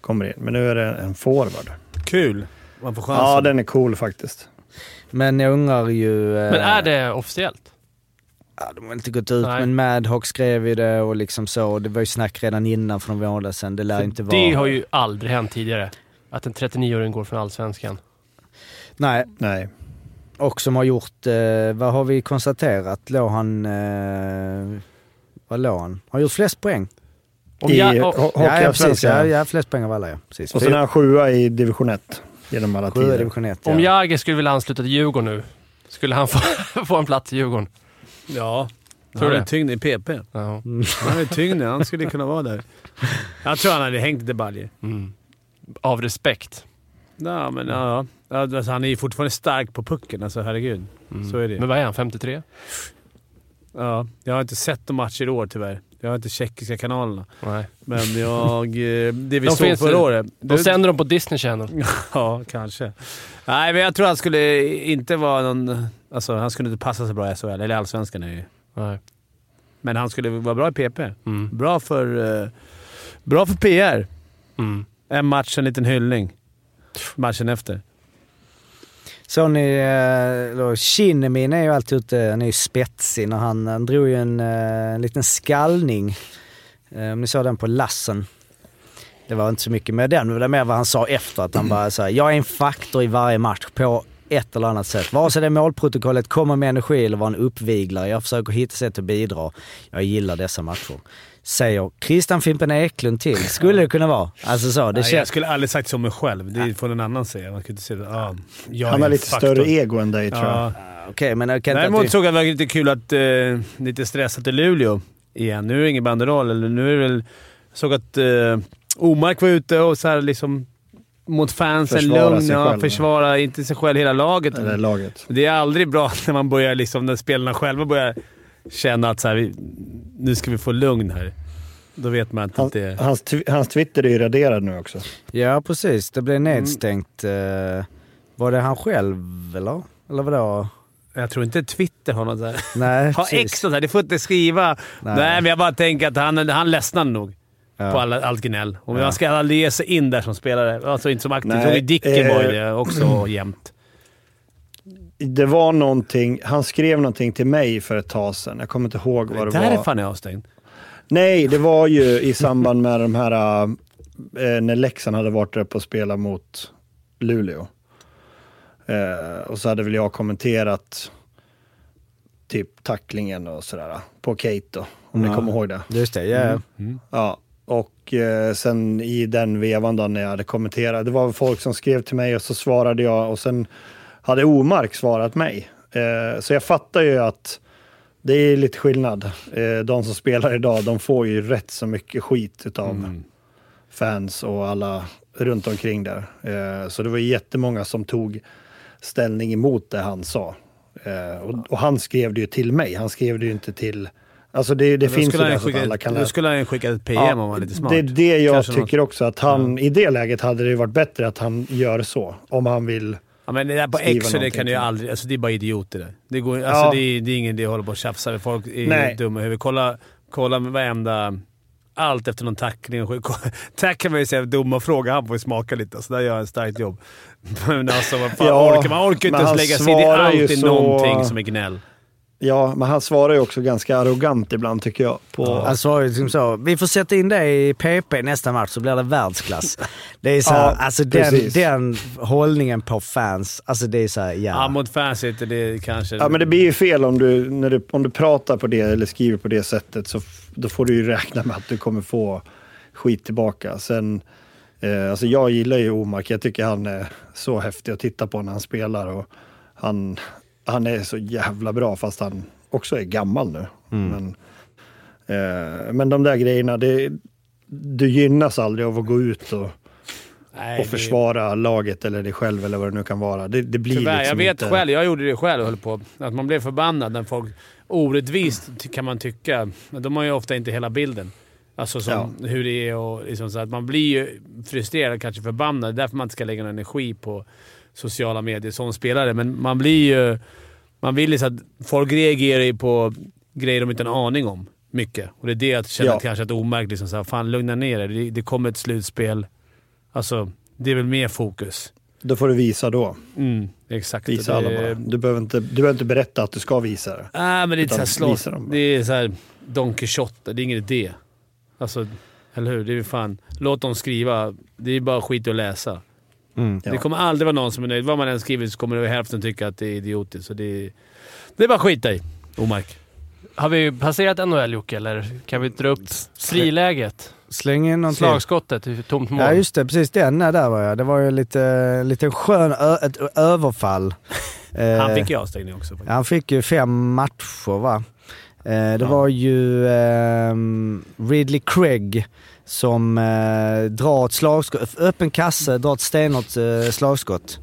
kommer in, men nu är det en forward. Kul! Man får chansen. Ja, den är cool faktiskt. Men jag undrar ju... eh, Men är det officiellt? Ja, de har inte gått ut, Nej. men Madhawk skrev ju det och liksom så. Och Det var ju snack redan innan för några månader sedan. Det lär inte vara... Det har ju aldrig hänt tidigare. Att en 39-åring går från Allsvenskan. Nej, Nej. och som har gjort... Eh, vad har vi konstaterat? Låg han... Eh, vad låg han? Har gjort flest poäng. Om I jag, ho- och, ja, ja, precis. Hockeyallsvenskan. Ja, ja, flest poäng av alla, ja. Precis. Och sen är han sjua i division 1 genom alla Sjua i tider. division 1, om ja. Jagr skulle vilja ansluta till Djurgården nu, skulle han få, få en plats i Djurgården? Ja. Tror han du är det? tyngd i PP. Ja. Han är tyngd. Han skulle kunna vara där. Jag tror han hade hängt debaljer. Av respekt. Ja, men ja. ja. Alltså, han är ju fortfarande stark på pucken. Alltså, herregud. Så är det Mm. Men vad är han? 53? ja, Jag har inte sett de matcher i år tyvärr. Jag har inte tjeckiska kanalerna. Nej. Men jag... eh, Det vi De såg finns förra ju. året. Då Det- sänder de på Disney Channel. Ja, kanske. Nej, men jag tror han skulle inte vara någon... Alltså, han skulle inte passa sig bra i SHL. Eller Allsvenskan är det ju. Nej. Men han skulle vara bra i PP. Mm. Bra för, eh, bra för PR. Mm. En match, en liten hyllning. Matchen efter. Såg ni... eh, eller Kinnemin är ju alltid ute... Han är ju spetsig när han... Han drog ju en, eh, en liten skallning. Eh, Om ni såg den på Lassen. Det var inte så mycket med den, men det var mer vad han sa efter. Att han bara såhär, jag är en faktor i varje match på ett eller annat sätt. Vare sig det är målprotokollet, kommer med energi eller var en uppviglare. Jag försöker hitta sätt att bidra. Jag gillar dessa matcher. Säger Christian Fimpen Eklund till. Skulle det kunna vara. Alltså så. Det Nej, jag känns... skulle aldrig sagt så om mig själv. Det får någon annan säga. Man skulle inte säga ah, jag Han är har en lite faktor." större ego än dig tror jag. Ja. Okej, men jag kan inte... Däremot såg jag att det var lite kul att... Eh, lite stressat i Luleå igen. Nu är det ingen banderoll. Eller nu är det väl... Jag såg att eh, Omark var ute och så här liksom... Mot fansen. Försvara lugn. sig Ja, själv. försvara inte sig själv, hela laget. Eller laget. Det är aldrig bra när man börjar liksom, när spelarna själva börjar känna att så här, vi, nu ska vi få lugn här. Då vet man att Han, det är... hans, tw- hans Twitter är ju raderad nu också. Ja, precis. Det Mm. blev nedstängt. eh, Var det han själv, eller? Eller vadå? Jag tror inte Twitter har något där. Nej, Ha precis. X och så här, det får inte skriva. Nej, men jag bara tänker att han, han ledsnar nog på alla, allt gnäll. Och Man ska aldrig ge sig in där som spelare. Alltså inte som aktiv. Nej, Jag tror ju Dicken eh, var ju det också jämt. Det var någonting, han skrev någonting till mig för ett tag sedan. Jag kommer inte ihåg vad det var. Där är fan jag avstängd. Nej, det var ju i samband med de här, eh, när Leksand hade varit där uppe och spelat mot Luleå. Eh, och så hade väl jag kommenterat typ tacklingen och sådär på Kate då, om ni kommer ihåg det. Just det, ja. Mm. Ja, och eh, sen i den vevan då när jag hade kommenterat, det var folk som skrev till mig och så svarade jag och sen hade Omark svarat mig. Eh, så jag fattar ju att det är lite skillnad. Eh, de som spelar idag, de får ju rätt så mycket skit utav Mm. fans och alla runt omkring där. Eh, så det var ju jättemånga som tog ställning emot det han sa. Eh, och, och han skrev det ju till mig, han skrev det ju inte till... Alltså det, det Då finns ju skulle han där ju så att alla skicka, kan då läsa. skulle han ju skicka ett PM Ja, om han var lite smart. Det är det jag Kanske någon- tycker också. Att han, I det läget hade det ju varit bättre att han gör så. Om han vill... Ja, men det där på skriva X och det någonting kan ju till. aldrig... Alltså det är bara idioter där. Det, går, alltså, Ja. det, är, det är ingen idé att hålla på och tjafsa. med Folk är Nej. dumma i huvudet. Kolla, kolla med varenda... Allt efter någon tackling. och skit. Kolla- Tacklar man ju säga dumma fråga. Han får ju smaka lite. Så där gör han ett starkt jobb. Men alltså vad fan Ja, orkar man? Man orkar men inte ens han lägga sig i. Det är svarar ju alltid så- någonting som är gnäll. Ja, men han svarar ju också ganska arrogant ibland tycker jag. På, Han sa ju liksom så, vi får sätta in dig i PP nästa match så blir det världsklass. Det är så här, Ja, alltså den, precis. den hållningen på fans, alltså det är så här, Ja. ja. mot fans är inte det kanske... ja, men det blir ju fel om du, när du, om du pratar på det eller skriver på det sättet. Så f- då får du ju räkna med att du kommer få skit tillbaka. Sen, eh, alltså jag gillar ju Omark. Jag tycker han är så häftig att titta på när han spelar. Och han, han är så jävla bra fast han också är gammal nu. Mm. Men, Eh, Men de där grejerna, det, du gynnas aldrig av att gå ut och Nej, och det- försvara laget eller dig själv eller vad det nu kan vara. Det, det blir Tyvärr, liksom jag vet inte... själv. Jag gjorde det själv och höll på. Att man blev förbannad när folk... Orättvist ty- kan man tycka. Men De har ju ofta inte hela bilden. Alltså som hur det är och liksom så att man blir ju frustrerad och kanske förbannad. Det är därför man inte ska lägga någon energi på sociala medier som spelare. Men man blir ju... Man vill ju så att folk reagerar ju på grejer de inte har en aning om. Mycket. Och det är det jag känner Ja. kanske att omärkt. Liksom så här, fan, lugna ner er. Det, det kommer ett slutspel. Alltså, det är väl mer fokus. Då får du visa då. Mm, exakt. Visa Det- alla bara. Du behöver, inte, du behöver inte berätta att du ska visa det. Nej, men det är Utan såhär slåss. visa dem bara. Det är såhär Don Quixote. Det är ingen idé. Alltså, eller hur? Det är ju fan... Låt dem skriva. Det är bara skit att läsa. Mm, Ja. Det kommer aldrig vara någon som är nöjd. Vad man än skriver så kommer över hälften tycka att det är idiotiskt. Så det är, det är bara skit i. Omark. Har vi passerat NHL Jocke, eller kan vi dra upp friläget? Släng in någon till. Slagskottet, hur tomt mål. Ja just det, precis den. Nej, där var jag. Det var ju lite, lite skön ö- ett överfall. Eh, Han fick ju avstängning också. faktiskt. han fick ju fem matcher va? Eh, det var ju ehm, Ridley Craig som eh, drar ett slagskott, öppen kasse, drar ett stenhårt eh, slagskott.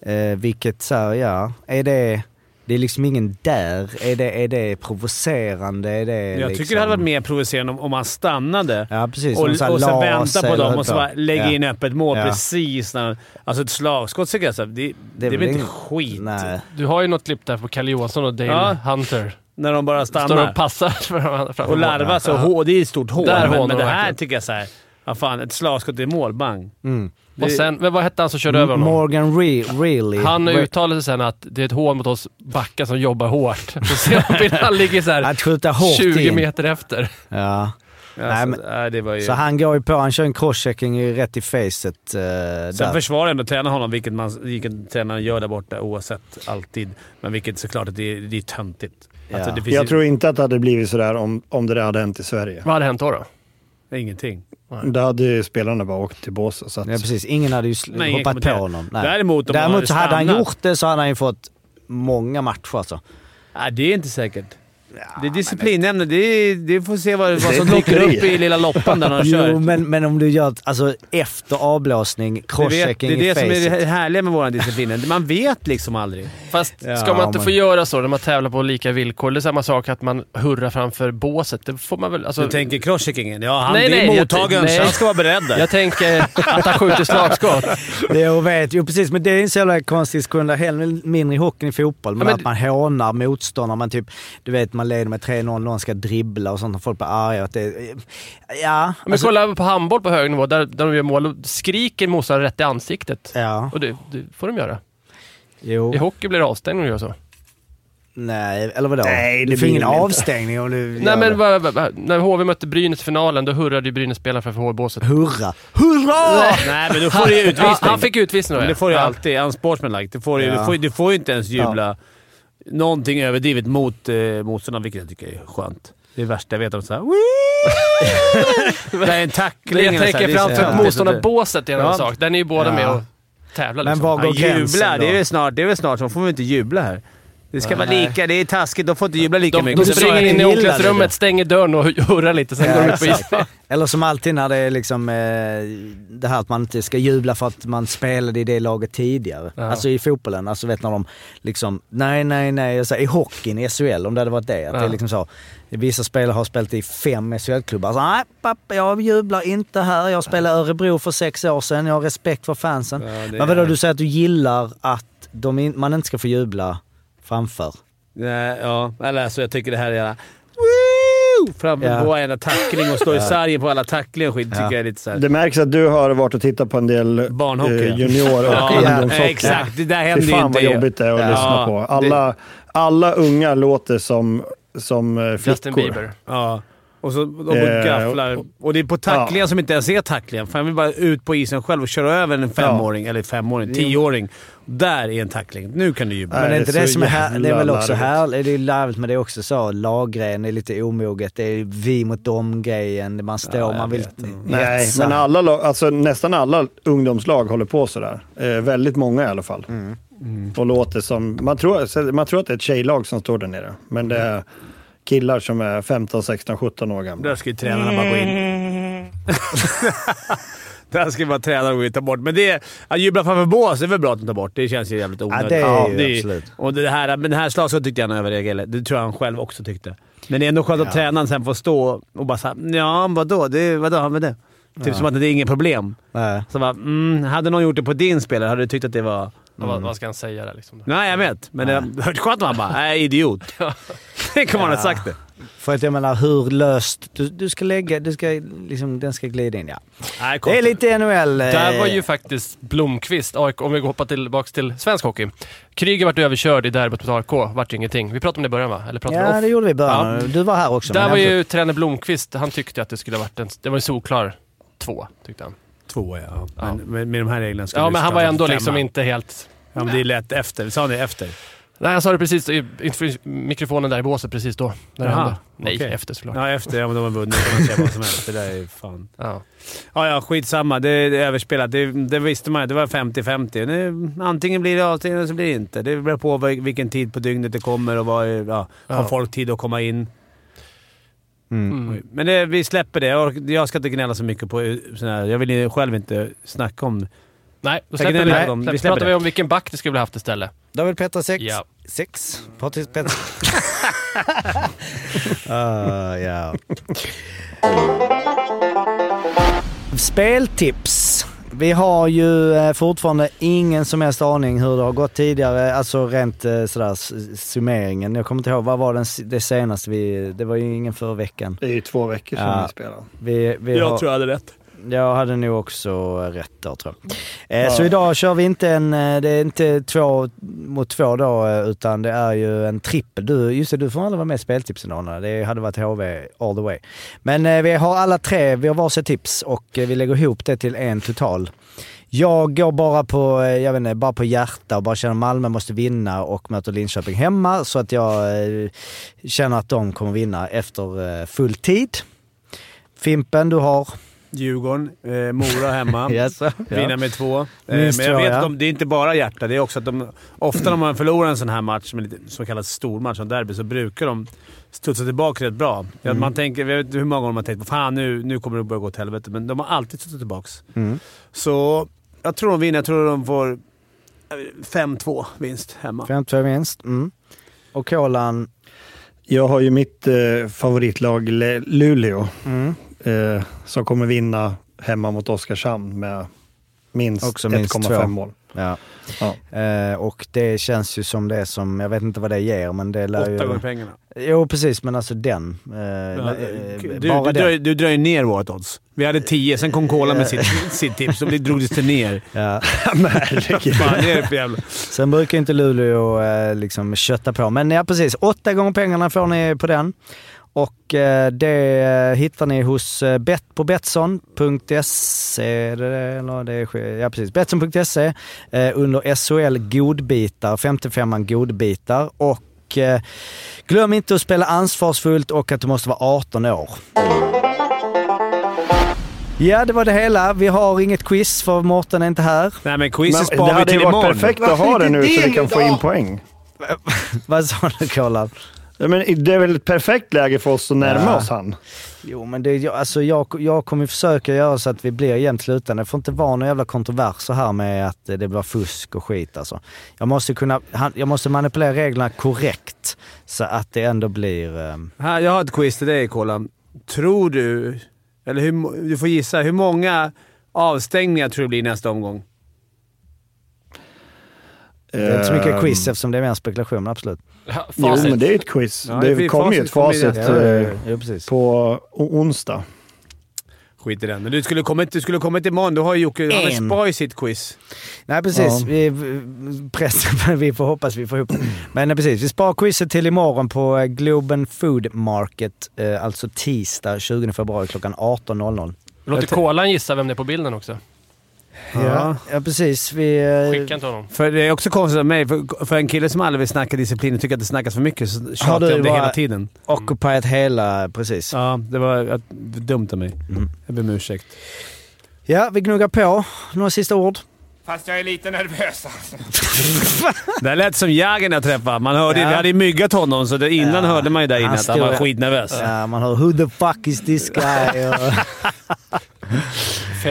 Eh, vilket så här, ja, är det, det är liksom ingen där. Är det, är det provocerande? Är det Jag liksom... tycker det hade varit mer provocerande om, om han stannade Ja precis. och, Någon så här och sen las vänta på eller dem höll och så bara lägga Ja. in öppet mål Ja. precis när... Alltså ett slagskott tycker jag så här, det, det, är väl inte skit? Nej. Du har ju något klipp där på Kalle Johansson och Dale Ja. Hunter. När de bara stannar. Står och passar fram- framför Och larva så hår, det är ett stort hål. Där men, hånar men det de här verkligen. tycker jag såhär... Ja, fan, ett slagskott i mål. Bang. Och sen, men vad hette han som körde över honom? Mm. Morgan Re Reilly. Han Re- uttalade sig sen att det är ett hån mot oss backar som jobbar hårt. Och sen han ligger så här Att skjuta hårt 20 in. meter efter. Ja. Nej, Alltså, men, nej, det var ju... så han går ju på, han kör en crosschecking ju rätt i facet. eh, Sen där. försvarar ändå tränaren honom, vilket, man, vilket tränaren gör där borta oavsett. Alltid. Men vilket såklart att det, är- det är töntigt. Alltså, Ja. det finns Jag ju tror inte att det hade blivit sådär om, om det där hade hänt i Sverige. Vad hade hänt då? då? ingenting. Då hade ju spelarna bara åkt till båset. Så att, Ja, precis. Ingen hade ju sl- Nej, ingen hoppat på kommentar. honom. Nej. Däremot om han hade så hade han stannat. gjort det så hade han ju fått många matcher alltså. Nej, det är inte säkert. det är disciplinämne. Det, är- det får se vad, vad är som Alltså, dyker hyckleri. upp i lilla loppan där när de kör. Jo, men, men om du gör ett- alltså efter avblåsning, Du vet, det crosschecking är det i som är facet. det härliga med vår disciplin. Man vet liksom aldrig. Fast Ja, ska man inte men- få göra så när man tävlar på lika villkor? Det är samma sak att man hurrar framför båset. Det får man väl... Alltså, Du tänker crosscheckingen? Ja, han Nej, det är nej, jag- mottagaren, nej. så han ska vara beredd där. jag tänker att han skjuter slagskott. Det jag vet. Jo precis, men det är en så jävla konstig diskussion. Det är hellre mindre i hockeyn i fotboll. Men, Ja, men- att man hånar motståndare. Man typ, du vet, man leder med 3-0, någon ska dribbla och sånt. Och folk blir arga. Att det, ja, Men Alltså- kolla på handboll på hög nivå, där, där de gör mål och skriker motståndaren rätt i ansiktet. ja. Och det, det får de göra. I Jo. hockey blir det avstängning om du gör så. Nej, eller vadå? Nej, det du får blir ingen det inte. avstängning om du gör Nej men det. vad- vad- vad- när HV mötte Brynäs i finalen, då hurrade ju Brynäs-spelaren framför HV-båset. Hurra! Hurra! Nej, men då får du ju Ja, utvisning. han fick utvisning då Men ja. det får du ju Ja. alltid. Unsportsmanlike. Du får ju, Ja. du får, ju- du får ju inte ens jubla någonting överdrivet mot eh, motståndaren, vilket jag tycker är skönt. Det är det värsta jag vet. om så här, "Wii!" Det är en tackling Jag eller så här, tänker det är så- framför ja. ja. motståndarbåset är en annan Ja. sak. Den är ju båda Ja. med och tävlar Men liksom. var Ja, går jubla. gränsen då? Det är väl snart, det är väl snart så. får vi inte jubla här. Det ska vara lika. Det är taskigt. De får inte jubla lika De, mycket. de Så- springer in i gillar det omklädningsrummet, då. stänger dörren och hurrar lite, sen Ja, går de ut på exakt. is. Eller som alltid när det är liksom eh, det här att man inte ska jubla för att man spelade i det laget tidigare. Ja. Alltså i fotbollen, alltså vet när de liksom, nej nej nej, och så, här, i hockeyn, i SHL om det hade varit det. Att det Ja. är liksom så, vissa spelare har spelat i fem SHL-klubbar. Så, nej pappa, jag jublar inte här. Jag spelade i Örebro för sex år sedan. Jag har respekt för fansen. det Men vadå, är- du säger att du gillar att de in, man inte ska få jubla framför? Nej, ja. Eller så jag tycker det här är jävla... Woo! Fram Ja. på varenda tackling och stå i sargen på alla tacklingar och skit. tycker Ja. jag är lite såhär... Det märks att du har varit och tittat på en del Barnhockey. eh, junior och Ja, ungdomshockey. exakt. Det där händer Fy ju fan inte. vad jobbigt det är att Ja. lyssna på. Alla, alla unga låter som, som eh, flickor. Justin Bieber. Ja. Och så de Eh, gafflar. Och det är på tacklingar ja. som inte ens är tacklingar. För jag vill bara ut på isen själv och köra över en femåring, eller femåring, tioåring. Där är en tackling. Nu kan du jubla. Men Nej, det är inte det det, är så som är här, det är jävla väl också larvigt. här, det är ju larvigt men det är också så laggren, det är lite omoget, det är vi mot dem-grejen, man står, man vill Nej, hetsa. men alla, lag- alltså, nästan alla ungdomslag håller på sådär. Eh, väldigt många i alla fall. Mm. Och låter som, man, tror, så- man tror att det är ett tjejlag som står där nere, men det är killar som är 15, 16, 17 år gamla. Mm. Där ska ju tränarna bara gå in. Det här ska vi bara träna och ta bort. Men det, att jubla framför bås är väl bra att ta bort. Det känns ju jävligt onödigt. det är ju absolut. Och det här, men det här slaget tyckte han överreagerade. Det tror jag han själv också tyckte. Men det är ändå skönt att tränaren sen får stå och bara såhär “Ja, vadå? Det, vadå? Han med det?” Typ som att det är inget problem. Nej. Så bara, mm, hade någon gjort det på din spelare hade du tyckt att det var... Mm. Vad, vad ska han säga där liksom? Nej, jag vet. Men det det var skönt om han bara “Nej, idiot”. Tänk om han hade sagt det. För att jag menar hur löst... Du, du ska lägga... Du ska, liksom, den ska glida in, ja. Nej, kom. Det är lite NHL. eh, Där var ju faktiskt Blomqvist, AIK, om vi hoppar tillbaka till svensk hockey. Kryger vart överkörd i derbyt mot AIK, vart ju ingenting. Vi pratade om det i början va? Eller pratade vi Ja, off? det gjorde vi i början. Du var här också. Där men var ändå- ju tränare Blomqvist, han tyckte att det skulle ha varit en... Det var en solklar två, tyckte han. Två, ja. Men med, med de här reglerna ska Ja, du men han starta var ändå femma. liksom inte helt... Ja, men det är lätt efter. Sa ni efter? Nej, jag sa det precis i, inför mikrofonen där i båset precis då. När det Jaha, hände. Nej, okej. efter såklart. Ja. Ja, efter. Ja, men de har vunnit. Kan man säga vad som helst. Det där är fan... Ja, ja, skitsamma. Det, det är överspelat. Det, det visste man ju. Det var 50-50. Nu, antingen blir det avstängning eller så blir det inte. Det beror på vil- vilken tid på dygnet det kommer och vad, ja, har Ja. folk tid att komma in. Mm. Oj. Men det, vi släpper det. Jag, ork- jag ska inte gnälla så mycket på sådana här. Jag vill ju själv inte snacka om... Nej, då Jag släpper gnäller på dem. vi, Vi släpper, släpper pratar det. vi om vilken back det skulle ha haft istället. David Petter 6. Ja. 6. Patrik Petter... Ah, ja. Speltips. Vi har ju eh, fortfarande ingen som helst aning hur det har gått tidigare, alltså rent eh, sådär s- summeringen. Jag kommer inte ihåg, vad var den, s- det senaste vi... Det var ju ingen förra veckan. Det är ju två veckor sedan Ja. vi spelade. Vi, vi har, jag hade rätt. jag hade nog också rätt där tror jag. Eh, Så idag kör vi inte en, eh, det är inte två mot två då eh, utan det är ju en trippel. Du, just det, du får aldrig vara med i speltipsen Arne. Det hade varit HV all the way. Men eh, vi har alla tre, vi har varsitt tips och eh, vi lägger ihop det till en total. Jag går bara på, eh, jag vet inte, bara på hjärta och bara känner att Malmö måste vinna och möter Linköping hemma så att jag eh, känner att de kommer vinna efter eh, full tid. Fimpen, du har? Djurgården, eh, Mora hemma. Yes. Ja. Vinna med två. Eh, Minst men jag två, vet ja. att de, det är inte bara hjärta. Det är också att de, ofta när man förlorar en sån här match, som är lite, så kallad stormatch, som derby, så brukar de studsa tillbaka rätt bra. Ja, Man tänker, jag vet inte hur många gånger man tänkt på fan nu, nu kommer det börja gå åt helvete, men de har alltid studsat tillbaka. Mm. Så jag tror de vinner. Jag tror de får eh, 5-2 vinst hemma. 5-2 vinst. Mm. Och Kolan, Jag har ju mitt eh, favoritlag Le- Luleå mm. eh, som kommer vinna hemma mot Oskarshamn med minst Också minst två. 1,5 mål. ja. Ja. Eh, och det känns ju som det som, jag vet inte vad det ger men det lär ju... Åtta gånger pengarna. Jo precis, men alltså den. Eh, Ja, eh, du, du, bara den. drar, du drar ju ner vårt odds. Vi hade 10, sen kom Cola med sitt, sitt tips. Då drogs det ner. Ja. Men herregud. Fan, det är för jävla... Sen brukar ju inte Luleå eh, liksom kötta på. Men ja precis, åtta gånger pengarna får ni på den. Och eh, det eh, hittar ni hos eh, bet på Betsson.se. Är det det? Eller det är, ja precis, Betsson.se eh, under SHL godbitar, 55an godbitar. Och eh, glöm inte att spela ansvarsfullt och att du måste vara 18 år. Ja, det var det hela. Vi har inget quiz för Mårten är inte här. Nej, men quizet Men det sparar vi hade till ju varit imorgon. perfekt att ha det nu så vi kan få in poäng. Vad sa du Kolan? Ja, men det är väl ett perfekt läge för oss att närma oss han. Jo, men det, jag, alltså jag, jag kommer ju försöka göra så att vi blir jämnt slutande. Det får inte vara någon jävla kontroverser här med att eh, det blir fusk och skit alltså. Jag måste, kunna, han, jag måste manipulera reglerna korrekt så att det ändå blir... Eh, Här, jag har ett quiz till dig, Kolan. Tror du, eller hur, mo- du får gissa, hur många avstängningar tror du blir nästa omgång? det är inte så Ehm. mycket quiz eftersom det är mer spekulation, absolut. Ja, facit. Eh, Jo, men det är ju ett quiz. Ja, det det är kommer ju facit, kommer ett facit det. Ja, ja, eh, ja, ja, precis. på o- onsdag. Skit i den. Men du skulle kommit, du skulle kommit imorgon. Då har ju Jocke han har En. spar ju sitt quiz. Nej precis, Ja. vi, vi- pressen, vi får hoppas vi får ihop det. Men eh, precis, vi sparar quizet till imorgon på eh, Globen Food Market, eh, alltså tisdag 20 februari klockan 18.00. Låter Kolan gissa vem det är på bilden också. Ja, ja precis. Vi, eh, Skicka inte honom. För det är också konstigt av mig, för, för en kille som aldrig vill snacka disciplin och tycker att det snackas för mycket så tjatar du jag om det bara- hela tiden. Occupied hela, precis. Ja. Ja, det var att- dumt av mig. Mm. Jag ber om ursäkt. vi gnuggar på. Några sista ord? Fast jag är lite nervös alltså. Det här lät som Jagr när jag träffade Man hörde, Ja. Vi hade ju myggat honom, så det, innan Ja. hörde man ju där Han inne att han stod- var skitnervös. Ja, man hör “Who the fuck is this guy?” och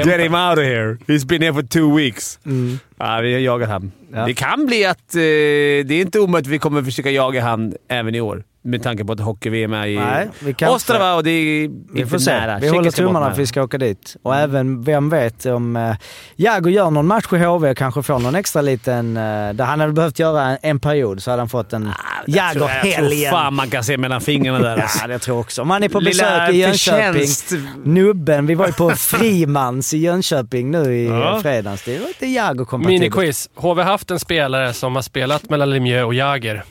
Get him out of here. He's been here for two weeks. Ja, vi har jagat han. Mm. Ja. Det kan bli att... Eh, det är inte omöjligt att vi kommer försöka jaga han även i år. Med tanke på att hockey-VM är i Nej, vi kan Ostrava och det är Vi inte får se. nära. Mm. Vi Tjeckien håller ska bort tummarna med. att vi ska åka dit. Och även, vem vet, om eh, Jago gör någon match i HV och kanske får någon extra liten... Eh, där han hade behövt göra en, en period så hade han fått en Ah, Jag tror- Jag tror Jago-helgen. fan man kan se mellan fingrarna där. alltså. Ja, det tror jag också. Om han är på Lilla besök i Jönköping. förtjänst. Nubben, vi var ju på Frimans i Jönköping nu i Ja. fredags. Det var inte Jago-kompatibelt. Miniquiz. Har vi haft en spelare som har spelat mellan Lemieux och Jagger?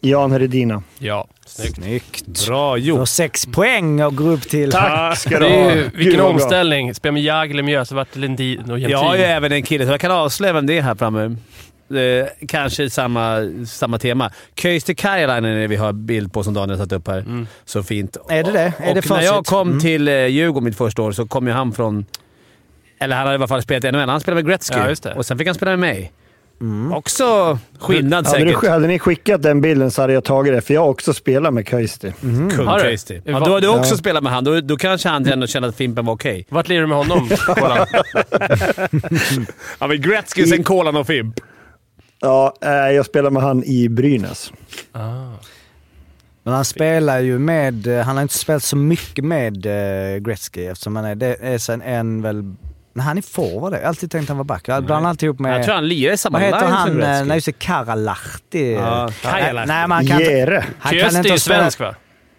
Jan Hedina. Ja, snyggt. Snyggt. Bra Du har gjort. sex poäng och går upp till... Tack ska du Det ha. är ju, Gud, vilken vad bra. omställning. Spela med Jag, Lemieux, så vart det Lindin och Jag har ju Jämtin. även en kille, så jag kan avslöja vem det är här framme. Eh, kanske samma, samma tema. Köyste Kajalainen är det vi har bild på som Daniel har satt upp här. Så fint. Är det det? Är och det när facit? Mm. jag kom till eh, Djurgården mitt första år så kom ju han från... Eller han hade i alla fall spelat i NHL. Han spelade med Gretzky Ja, just det. och sen fick han spela med mig. Mm. Också skillnad Hade, säkert. du, hade ni skickat den bilden så hade jag tagit det, för jag har också spelat med Köysti. Mm. Kung Har du? Köyste. Ja, då har du också spelat med han. Då, då kanske han ändå kände att Fimpen var okej. Vart lirar du med honom? Kolla. Ja, men Gretzky, sen Kolan och Fimp. Ja, eh, jag spelade med han i Brynäs. Men han spelar ju med... eh, Han har inte spelat så mycket med eh, Gretzky eftersom han är... Det är sen en väl... Nej, han är forward. Jag har alltid tänkt han var back. Jag blandar alltid ihop med... Jag tror han lirar i samma vad heter line som han? eh, Gretzky. Nej, just det. Karalahti. Ja, Nej, Kajalahti. Nej, men han kan inte... Jere. Han kan Kjöst Ah. är inte ju ha spelat- svensk va?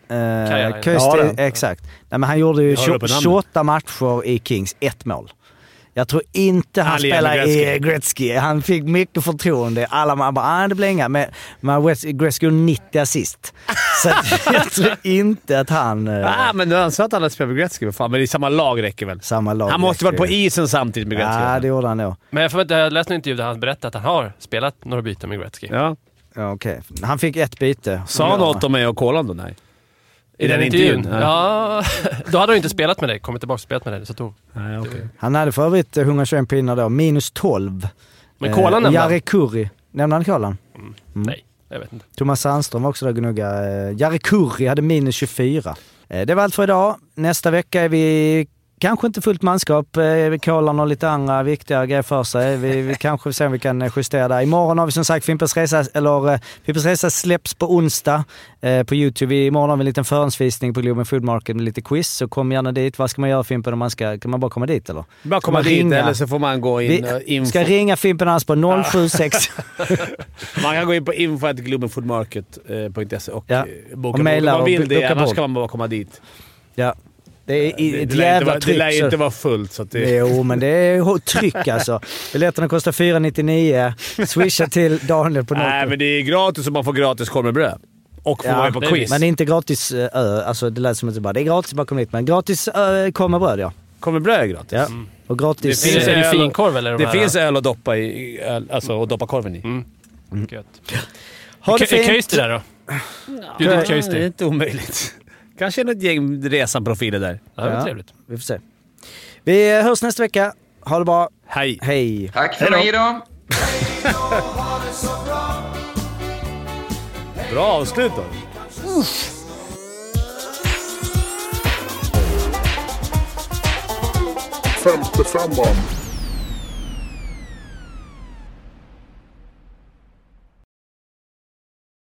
Eh, Kajalainen. Kösti, Ja, då. exakt. Nej, men han gjorde ju Jag håller uppe 20 namnet. 28 matcher i Kings, ett mål. Jag tror inte han, Han lirar med spelar i Gretzky. Han fick mycket förtroende. Alla man bara ah, det blir inga. Men, men Wes- Gretzky gjorde 90 assist. Så att jag tror inte att han... eh, Ah, men du ansåg att han hade spelat med Gretzky? Vad Fan, men i samma lag räcker väl? Samma lag. Han måste ju varit på Gretzky. isen samtidigt med Gretzky. Ja, det gjorde han nog. Men jag, får inte, jag läste en intervju där han berättade att han har spelat några byten med Gretzky. Ja. Ja, okej. Han fick ett byte. Sa han något om mig och Kolan då? Nej. I, den, intervjun? Ja. Då hade han ju inte spelat med dig. Kommit tillbaka och spelat med dig. Så tog. Nej, okej. Han hade för övrigt eh, 121 pinnar då. Minus 12. Eh, Men Kolan nämnde han. Jari Kurri. Nämnde han Kolan? Nej, jag vet inte. Thomas Sandström var också där och gnugga. Eh, Jari Kurri hade minus 24. Eh, Det var allt för idag. Nästa vecka är vi kanske inte fullt manskap. Eh, Kolan och lite andra viktiga grejer för sig. Vi, vi kanske ser om vi kan eh, justera det. Imorgon har vi som sagt Fimpens Resa, eller eh, Fimpens Resa släpps på onsdag eh, på YouTube. Imorgon har vi en liten förhandsvisning på Globen Food Market med lite quiz. Så kom gärna dit. Vad ska man göra Fimpen om man ska... Kan man bara komma dit eller? Bara komma Man dit, ringa. eller så får man gå in... och Vi info. ska ringa Fimpen Hans på 076... Man kan gå in på info.globenfoodmarket.se och Ja. eh, boka Och mejla bord. Man och vill bu- det, boka annars bord. kan man bara komma dit. ja. Det är det, i- ett lär inte jävla vara, det tryck. lär ju så- inte vara fullt, så att det... Jo, men det är hå- tryck alltså. Biljetterna kostar 499. Swisha till Daniel på Nej, något. men det är gratis och man får gratis korv med bröd. Och får Ja, vara med på det är quiz. Men det är inte gratis eh, ö. Alltså det lät som att det bara det är gratis bara kom hit. Men gratis ö kom med bröd ja. Korv med bröd är gratis. ja. Och gratis... Det Är finns det, är det öl- finkorv eller? de Det här? finns öl att doppa, i, i öl, alltså, att doppa korven i. Gött. ha det Kö- Är fint! Köjster där då? Ja, det Judith är Köjster. inte omöjligt. Kanske är något gäng Resan-profiler där. Ja, det var Ja. trevligt. Vi får se. Vi eh, hörs nästa vecka. Ha det bra. Hej! Hej! Tack för mig då. Bra avslut då! Femte femman.